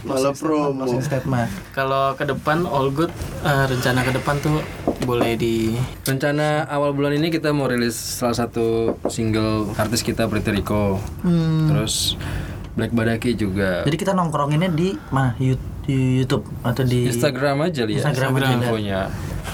Malah promo.
Closing statement.
Kalau ke depan all good eh, rencana ke depan tuh boleh di
Rencana awal bulan ini kita mau rilis salah satu single artis kita Pretty Rico. Terus Black Badaki juga.
Hmm. Jadi kita nongkronginnya di mana? Yout- di YouTube atau di
Instagram aja lihat
Instagram aja, lihat.
infonya.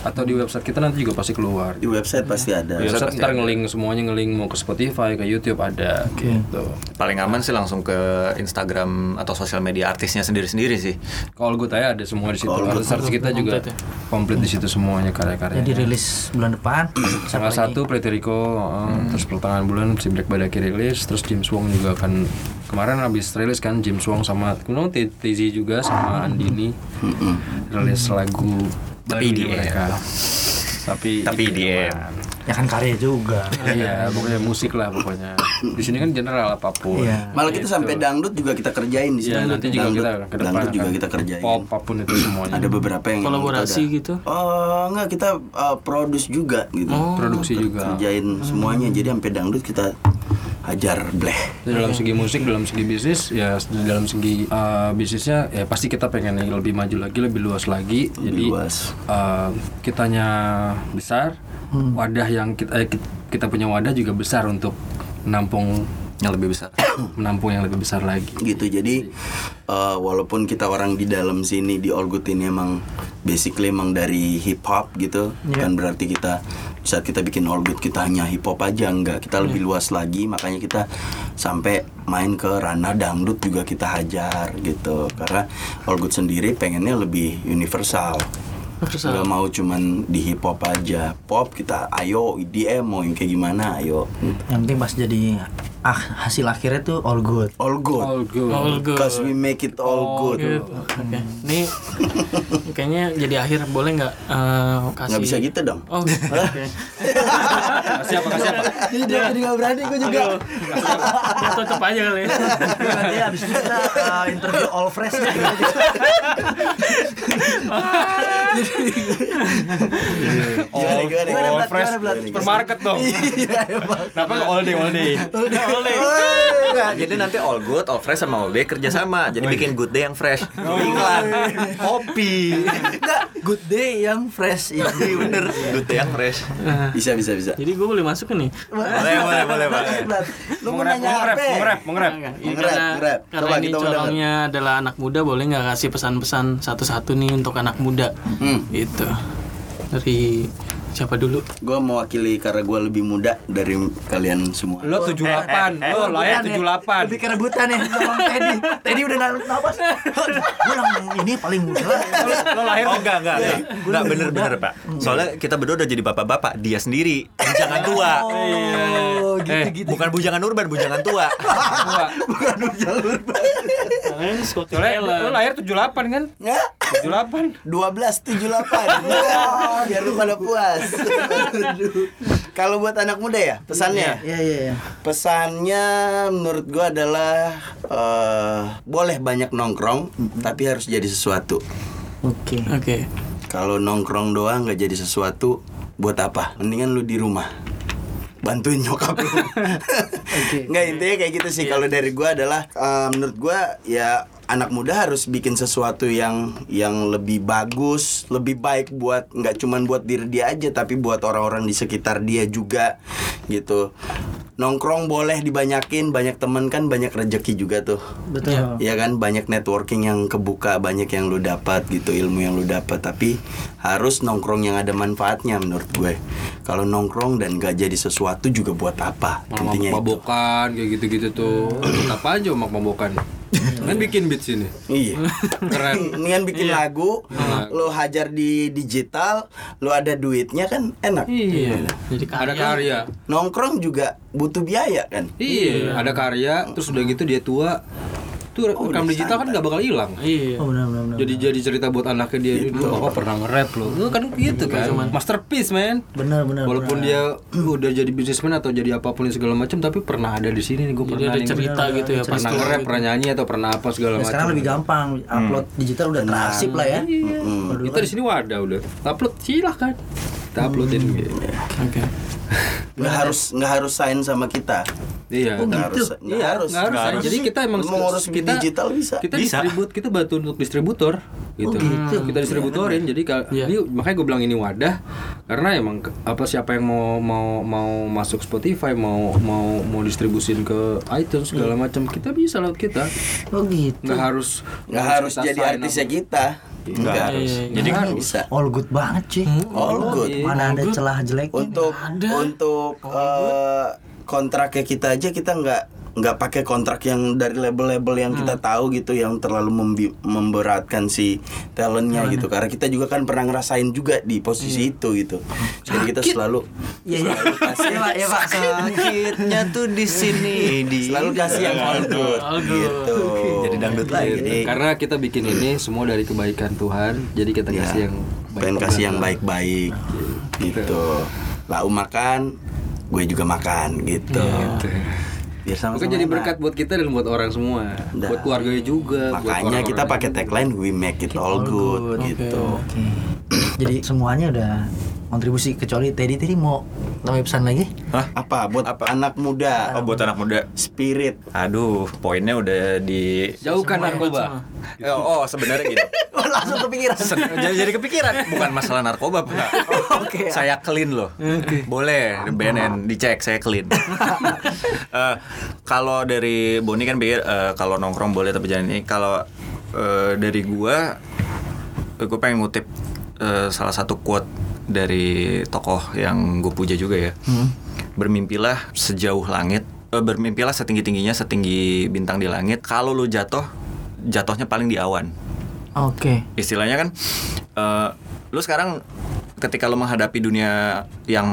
Atau di website kita nanti juga pasti keluar.
Di website Ya, pasti ada.
Di website Iya, ntar ngeling semuanya ngeling mau ke Spotify, ke YouTube ada gitu.
paling aman sih langsung ke Instagram atau sosial media artisnya sendiri-sendiri sih
Kalau gue tanya ada semua di situ. Artis artis kita juga komplit di situ semuanya
Jadi
karya-karyanya.
rilis bulan depan.
Tanggal satu Pretty Rico, eh, terus pertengahan bulan si Black Badaki rilis, terus James Wong juga akan kemarin habis rilis kan James Wong sama Kuno Tizi juga sama Andini rilis lagu
Tapi
baru di
IDM.
mereka. Tapi
tapi dia
ya kan karya juga.
iya pokoknya musik lah pokoknya. Di sini kan general apapun.
Iya.
Malah kita sampai dangdut juga kita kerjain di
Ya,
sini.
nanti juga
dangdut,
kita ke depan
dangdut juga
akan
kita kerjain.
Pop apapun itu semuanya.
Ada beberapa yang
kolaborasi gitu.
Oh, enggak kita uh, produce juga gitu.
Oh, Produksi juga. Hmm.
Kerjain semuanya. Jadi sampai dangdut kita hajar bleh.
Jadi dalam segi musik, dalam segi bisnis, ya dalam segi uh, bisnisnya ya pasti kita pengen yang lebih maju lagi, lebih luas lagi. Jadi
luas.
uh, kitanya besar, wadah yang kita eh, ki- kita punya wadah juga besar untuk menampung
yang lebih besar
menampung yang lebih besar lagi.
gitu jadi eh, walaupun kita orang di dalam sini di All Good ini emang basically emang dari hip hop gitu
Iya.
bukan berarti kita saat kita bikin All Good kita hanya hip hop aja enggak kita lebih
Iya.
luas lagi makanya kita sampai main ke ranah dangdut juga kita hajar gitu karena All Good sendiri pengennya lebih universal
Universal.
Nggak mau cuman di hip hop aja pop kita ayo IDM mau yang kayak gimana ayo
Yang penting pas jadi ah, hasil akhirnya tuh all good.
all good
All good.
all good.
cause we make it all good
Good. Gitu. Oke. Ini kayaknya jadi akhir boleh nggak eh, kasih?
nggak bisa gitu dong
Oh, oke.
Kasih apa kasih apa?
jadi dia jadi gak berani gue juga.
Ya, Tutup aja kali ya.
Nanti habis itu kita uh, interview all fresh nih.
Iya,
Gimana, gimana, gimana,
all
Blat?
fresh
Gimana, Blat?
supermarket dong.
Iya, emang.
Kenapa nggak all day all day?
jadi nanti all good all fresh sama all day kerjasama jadi bikin good day yang fresh iklan kopi
Enggak, good day yang fresh ini bener.
Iya, good day yang fresh
Bisa bisa bisa.
Jadi gue boleh masuk kan nih?
boleh boleh boleh Pak.
Blat, Lu mau
Nge-rap,
nanya
nge-rap,
apa?
nge-rap, nge-rap.
Iya,
Ngerap,
karena,
ngerap.
karena
Coba
ini
kita mau
corongnya adalah anak muda, boleh nggak kasih pesan-pesan satu-satu nih untuk anak muda?
Hmm.
Gitu. Dari siapa dulu?
Gue mewakili karena gue lebih muda dari kalian semua.
Lo 78,
Eh,
lo layak
ya,
Oh,
78.
ya. Lebih kerebutan ya sama Teddy. Teddy udah narik napas. Gue yang ini paling muda.
lo lahir oh, enggak enggak enggak, enggak bener bener pak soalnya kita berdua udah jadi bapak bapak dia sendiri bujangan tua
Oh,
Eh,
gitu-gitu.
bukan bujangan urban bujangan tua
Tua.
Kalian Scotty
Soalnya lo
Taylor.
lahir 78 kan?
Ya,
78.
1278. Ya, biar lu pada puas. Aduh. Kalau buat anak muda ya pesannya.
Iya, iya, iya.
Pesannya menurut gue adalah eh, boleh banyak nongkrong tapi harus jadi sesuatu.
Oke.
Oke.
Kalau nongkrong doang nggak jadi sesuatu, buat apa? Mendingan lu di rumah. Bantuin nyokap lu. Nggak intinya kayak gitu sih. Kalau dari gua adalah eh, menurut gua ya anak muda harus bikin sesuatu yang yang lebih bagus, lebih baik buat nggak cuman buat diri dia aja tapi buat orang-orang di sekitar dia juga gitu. Nongkrong boleh dibanyakin, banyak temen kan banyak rejeki juga tuh.
Ya.
Betul.
Iya kan banyak networking yang kebuka, banyak yang lu dapat gitu, ilmu yang lu dapat, tapi harus nongkrong yang ada manfaatnya menurut gue. Kalau nongkrong dan gak jadi sesuatu juga buat apa?
Malah
Intinya itu.
mabokan kayak gitu-gitu tuh. Apa aja mak mabokan? Kan bikin beat sini.
Iya.
Keren. Iya.
Ini kan bikin lagu, lu hajar di digital, lu ada duitnya kan enak.
Iya. Jadi
Ada
karya.
karya.
Nongkrong juga butuh biaya kan?
Iya.
Iya, ada karya terus udah gitu dia tua Itu rekam digital kan nggak bakal hilang.
Iya.
Oh benar benar Gitu. benar.
Jadi jadi cerita buat anaknya dia dulu oh pernah nge-rap loh. Itu kan gitu kan. Masterpiece, man.
Benar benar.
Walaupun dia udah jadi bisnismen atau jadi apapun yang segala macam tapi pernah ada di sini nih gue
Jadi
pernah
Iya, ada
nih, gua
cerita gitu ya pas
pernah nge-rap, pernah nyanyi atau pernah apa segala
Nah,
macam.
sekarang lebih gampang upload digital udah tersip lah ya. Kalau dulu
Kita di sini wadah udah. Upload silahkan. Kita uploadin gitu.
Oke.
nggak harus nggak harus sign sama kita
Iya.
nggak harus nggak
Iya,
harus
nggak harus.
Nggak
Jadi kita emang
Lu mau ngurus
kita-
digital bisa Oh, Iya,
kita
Bisa.
distribut kita bantu untuk distributor gitu,
gitu.
kita distributorin jadi kalau
Iya.
ini makanya gue bilang ini wadah karena emang ke- apa siapa yang mau mau mau masuk Spotify mau mau mau distribusin ke
Iya.
iTunes segala macam kita bisa lah kita
Oh gitu.
nggak harus
nggak harus
kita
jadi
sign
artisnya
up.
kita nggak
Nggak
harus
harus.
jadi kan bisa
All good banget sih.
all good
Mana ada celah jeleknya?
untuk untuk eh, kontraknya kita aja kita nggak nggak pakai kontrak yang dari label-label yang kita
Hmm.
tahu gitu yang terlalu membi- memberatkan si talentnya gitu karena kita juga kan pernah ngerasain juga di posisi itu gitu jadi kita selalu
Iya iya. Iya pak, iya pak.
Sakitnya tuh di sini di
selalu kasih yang all good
All good.
gitu
Jadi dangdut lagi.
Jadi
Iya. karena kita bikin ini semua dari kebaikan Tuhan jadi kita
ya,
kasih yang
pengen kasih yang baik-baik
Iya.
gitu lau makan gue juga makan gitu biar sama-sama
Iya, Mungkin jadi
enak.
berkat buat kita dan buat orang semua,
Nah.
buat keluarganya juga. buat
Makanya kita
orang-orang.
pakai tagline we make it all good, gitu.
Oke. Jadi semuanya udah kontribusi kecuali Teddy Teddy mau namanya pesan lagi?
Apa buat anak muda?
Oh, buat anak muda.
Spirit.
Aduh, poinnya udah di
jauhkan narkoba.
Eh, Oh, sebenarnya gini.
Oh, langsung kepikiran.
Sen- jadi, jadi kepikiran bukan masalah narkoba Pak.
oke.
saya clean loh boleh di BNN dicek saya clean Eh, kalau dari Boni kan pikir eh, kalau nongkrong boleh tapi jangan ini kalau eh, dari gua gue pengen ngutip eh, salah satu quote dari tokoh yang gue puja juga ya bermimpilah sejauh langit eh, bermimpilah setinggi tingginya setinggi bintang di langit kalau lu jatuh jatuhnya paling di awan
Oke.
istilahnya kan eh, lu sekarang ketika lu menghadapi dunia yang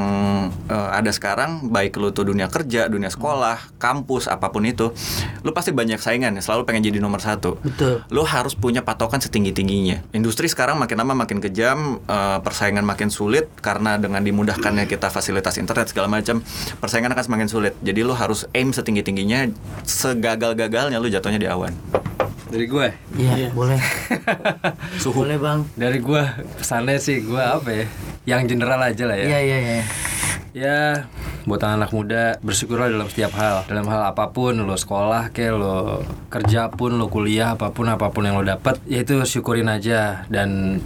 eh, ada sekarang baik lu tuh dunia kerja dunia sekolah kampus apapun itu lu pasti banyak saingan ya, selalu pengen jadi nomor satu
Betul.
lu harus punya patokan setinggi tingginya industri sekarang makin lama makin kejam eh, persaingan makin sulit karena dengan dimudahkannya kita fasilitas internet segala macam persaingan akan semakin sulit jadi lu harus aim setinggi tingginya segagal gagalnya lu jatuhnya di awan
Dari gue,
Iya boleh. Boleh bang.
dari gue pesannya sih gue apa ya? Yang general aja lah ya.
Iya iya iya.
Ya, buat anak muda bersyukurlah dalam setiap hal, dalam hal apapun lo sekolah ke lo kerja pun lo kuliah apapun apapun yang lo dapat, ya itu syukurin aja dan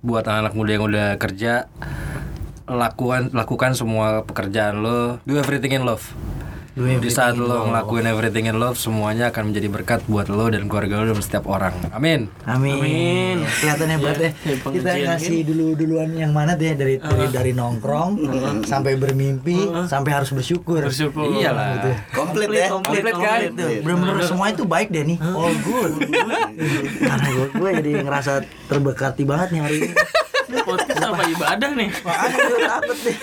buat anak muda yang udah kerja lakukan lakukan semua pekerjaan lo do everything in love
Do
di saat lo ngelakuin everything in love semuanya akan menjadi berkat buat lo dan keluarga lo dan setiap orang amin
Amin.
Amin.
Kelihatan hebat ya.
Iya, Ah. kayak
Kita
pengajian
ngasih dulu duluan yang mana deh dari dari, dari nongkrong sampai bermimpi sampai harus bersyukur.
Mm-hmm. Bersyukur. Iya.
iyalah
Komplit ya.
komplit, komplit.
Tuh, Bener-bener semua itu baik deh nih. All good. Karena gue, gue jadi ngerasa terbekati banget nih hari ini.
Podcast apa ibadah nih?
Makanya gue takut nih.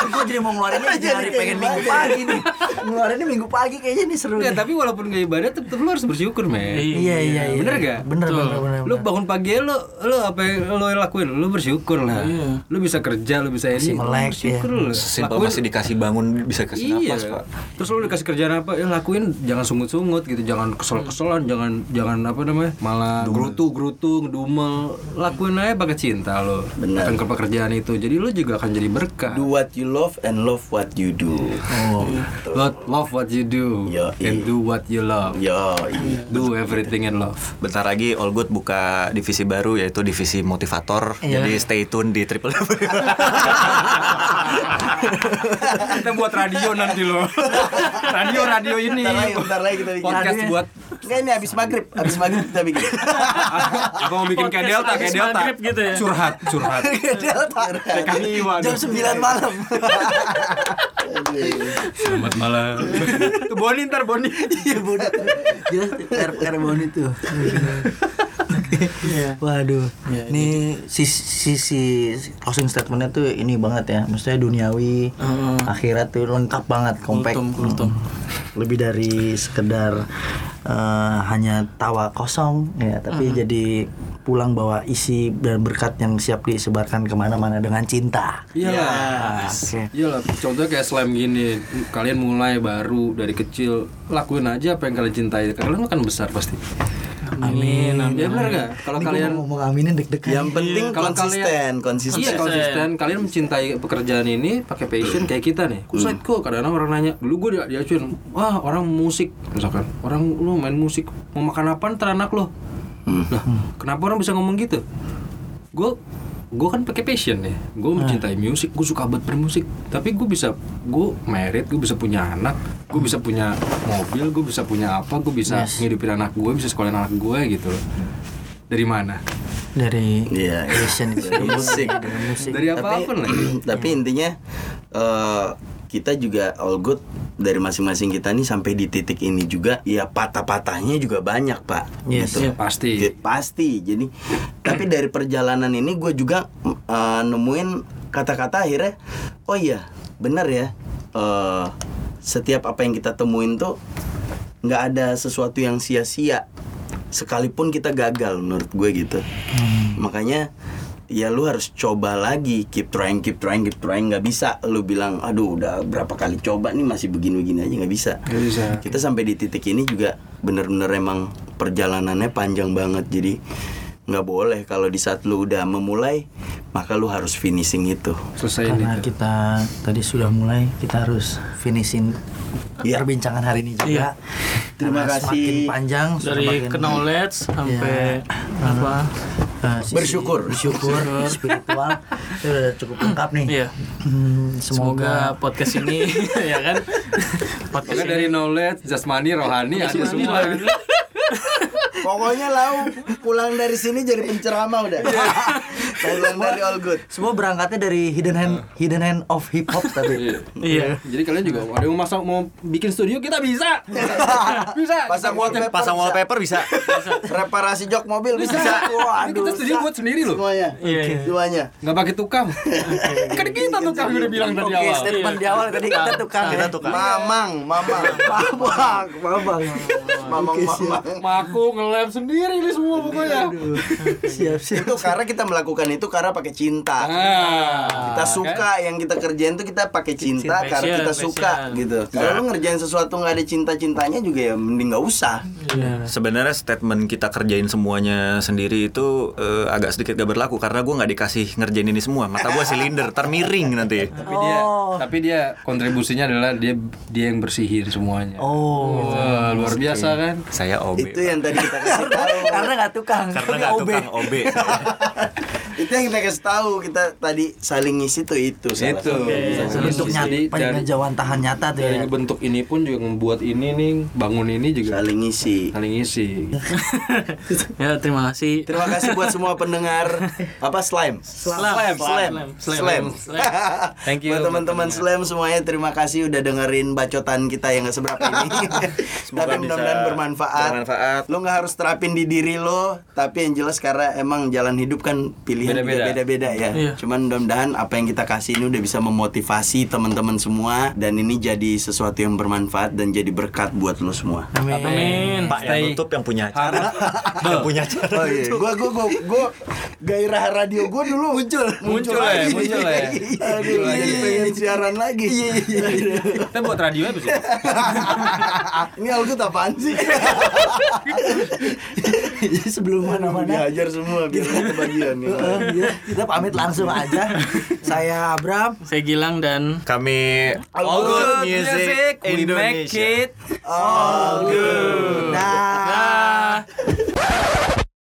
gue jadi mau ngeluarinnya jadi hari pengen minggu pagi nih. Ngeluarinnya minggu pagi kayaknya nih seru.
Nggak,
nih.
tapi walaupun gak ibadah tetap lo harus bersyukur men
Iya iya iya.
Bener gak?
Bener
Betul.
bener bener.
Lo
bener.
bangun pagi lo lo apa yang lo lakuin? Lo bersyukur lah.
Iya.
Lo bisa kerja, lo bisa ini.
Masih melek,
bersyukur
ya.
lo.
Simpel
Lakuin-
masih dikasih bangun bisa kasih
Iya.
napas pak.
Terus lo dikasih kerjaan apa? Ya lakuin jangan sungut-sungut gitu, jangan kesel-keselan, jangan jangan apa namanya? malah gerutu-gerutu, ngedumel. Lakuin aja pakai cinta lo.
Benar.
Akan ke pekerjaan itu. Jadi lo juga akan jadi berkah.
Do what you love and love what you do.
Oh. Lord, love what you do
Yo, iya.
and do what you love.
Yo.
Do everything in love.
Bentar lagi All Good buka divisi baru yaitu divisi motivator.
Iya.
Jadi stay tune di Triple W.
Kita buat radio nanti lo. radio radio ini.
Bentar lagi, bentar lagi kita bikin.
Podcast buat
Enggak ini habis maghrib, habis maghrib kita bikin.
apa mau bikin kayak Delta, kayak
habis
Delta.
maghrib gitu ya?
Curhat, curhat. Kami
Jam 9 malam.
Selamat malam. Ke Boni ntar Boni.
Iya bodoh. Jelas ter karbon itu. Iya. Waduh. Ini sisi, sisi closing statementnya tuh ini banget ya. Maksudnya duniawi, akhirat tuh lengkap banget, kompak.
Kultum, kultum.
Lebih dari sekedar eh, hanya tawa kosong ya tapi jadi pulang bawa isi dan berkat yang siap disebarkan kemana-mana dengan cinta.
Iya.
Iyalah.
Oke.
Iyalah, Iya. contohnya kayak slam gini. Kalian mulai baru dari kecil, lakuin aja apa yang kalian cintai. Kalian akan besar pasti.
Amin.
Ya benar nggak? Kalau
Ini gua
kalian
mau ngomong aminin deg-degan.
Yang penting
Iya, Kalau kalian-
Eh, konsisten, konsisten.
Iya konsisten. Kalian mencintai pekerjaan ini pakai passion kayak kita nih.
Hmm.
Kuset kok kadang-kadang orang nanya, dulu gue di acuin, wah orang musik misalkan, orang lu main musik mau makan apa ntar anak lo.
Hmm.
Lah, kenapa orang bisa ngomong gitu? Gue gue kan pakai passion nih gue
Hmm.
mencintai musik gue suka banget bermusik tapi gue bisa gue merit gue bisa punya anak gue bisa punya mobil gue bisa punya apa gue bisa ngidupin anak gue bisa sekolahin anak gue gitu loh dari mana
dari
Iya, iya.
passion itu
Dari musik.
Dari musik.
dari apapun lah
Tapi intinya eh, kita juga all good dari masing-masing kita nih sampai di titik ini juga ya patah-patahnya juga banyak, Pak.
Yes.
Gitu.
ya pasti
Ya, pasti. Jadi tapi dari perjalanan ini gue juga eh, nemuin kata-kata akhirnya oh iya, benar ya. Eh, setiap apa yang kita temuin tuh nggak ada sesuatu yang sia-sia sekalipun kita gagal menurut gue gitu. Makanya ya lu harus coba lagi keep trying keep trying keep trying nggak bisa lu bilang aduh udah berapa kali coba nih masih begini-begini aja nggak bisa
Gak bisa.
kita sampai di titik ini juga bener-bener emang perjalanannya panjang banget jadi nggak boleh kalau di saat lu udah memulai maka lu harus finishing itu
Selesai
Karena
itu.
kita tadi sudah mulai, kita harus finishing
Iya.
perbincangan hari ini
Iya.
juga.
Terima
Karena
kasih.
Semakin panjang
Oh,
dari
semakin-
knowledge sampai
Iya.
apa
Eh, sisi
Bersyukur.
bersyukur, spiritual itu udah cukup lengkap nih.
Iya.
Hmm,
semoga
semoga
podcast ini ya kan podcast
Pokoknya dari knowledge, jasmani, rohani ada
ini
semua.
pokoknya lau pulang dari sini jadi penceramah udah pulang dari all good
semua berangkatnya dari hidden hand hidden hand of hip hop tapi
iya
Jadi kalian juga ada yang mau masuk mau bikin studio kita bisa. bisa.
pasang wallpaper
Pasang
bisa.
wallpaper bisa.
reparasi jok mobil bisa,
Ini kita studio buat sendiri loh.
semuanya
Iya, iya.
semuanya
Nggak pakai tukang. kan kita tukang udah bilang tadi
Oke,
awal.
statement di awal tadi kita tukang kita
mamang mamang
Mamang, mamang.
mamang mamang
Maku ngelem sendiri ini semua pokoknya.
Siap, siap.
itu karena kita melakukan itu karena pakai cinta
Nah,
kita suka yang kita kerjain tuh kita pakai cinta
Passion,
karena kita
passion.
suka gitu kalau lu ngerjain sesuatu nggak ada cinta cintanya juga ya mending nggak usah
iya
Sebenarnya statement kita kerjain semuanya sendiri itu eh, agak sedikit gak berlaku karena gua nggak dikasih ngerjain ini semua. Mata gua silinder, termiring nanti.
tapi dia tapi dia kontribusinya adalah dia dia yang bersihin semuanya.
Oh.
Wah, luar biasa kan?
Saya OB.
itu yang tadi kita kasih tahu
Karena nggak tukang,
Karena
tapi
nggak
OB.
tukang OB.
itu yang kita kasih tahu kita tadi saling ngisi tuh itu salah
Itu.
satu.
Bentuk
Gitu. Jadi
nyata,
dari-
penjauhan tahan nyata tuh ya.
dari bentuk ini pun juga membuat ini nih bangun ini juga
saling ngisi
saling isi
ya terima kasih
terima kasih buat semua pendengar apa slime
Slam,
Slam. Slam.
Thank you.
Buat teman-teman Slam semuanya terima kasih udah dengerin bacotan kita yang gak seberapa ini. tapi
bisa
mudah-mudahan bermanfaat.
bermanfaat.
Lo nggak harus terapin di diri lo, tapi yang jelas karena emang jalan hidup kan pilihan juga
Beda-beda.
beda-beda ya.
Iya.
Cuman mudah-mudahan apa yang kita kasih ini udah bisa memotivasi teman-teman semua dan ini jadi sesuatu yang bermanfaat dan jadi berkat buat lo semua.
amin
Pak yang nutup yang punya acara. yang punya acara.
Oh iya, gua gua gua, gua gairah radio gua dulu muncul Iya,
Muncul ya, muncul ya. iya.
Aduh, jadi pengen siaran lagi.
kita buat radio apa sih
Ini algut apaan sih?
Jadi sebelum mana-mana
Dihajar semua biar nggak kebagian. ya.
eh, ya, kita pamit langsung aja. Saya Abram.
saya Gilang dan
Kami All Good Music Indonesia.
it
Oh,
Nah,
Dah.
Ah.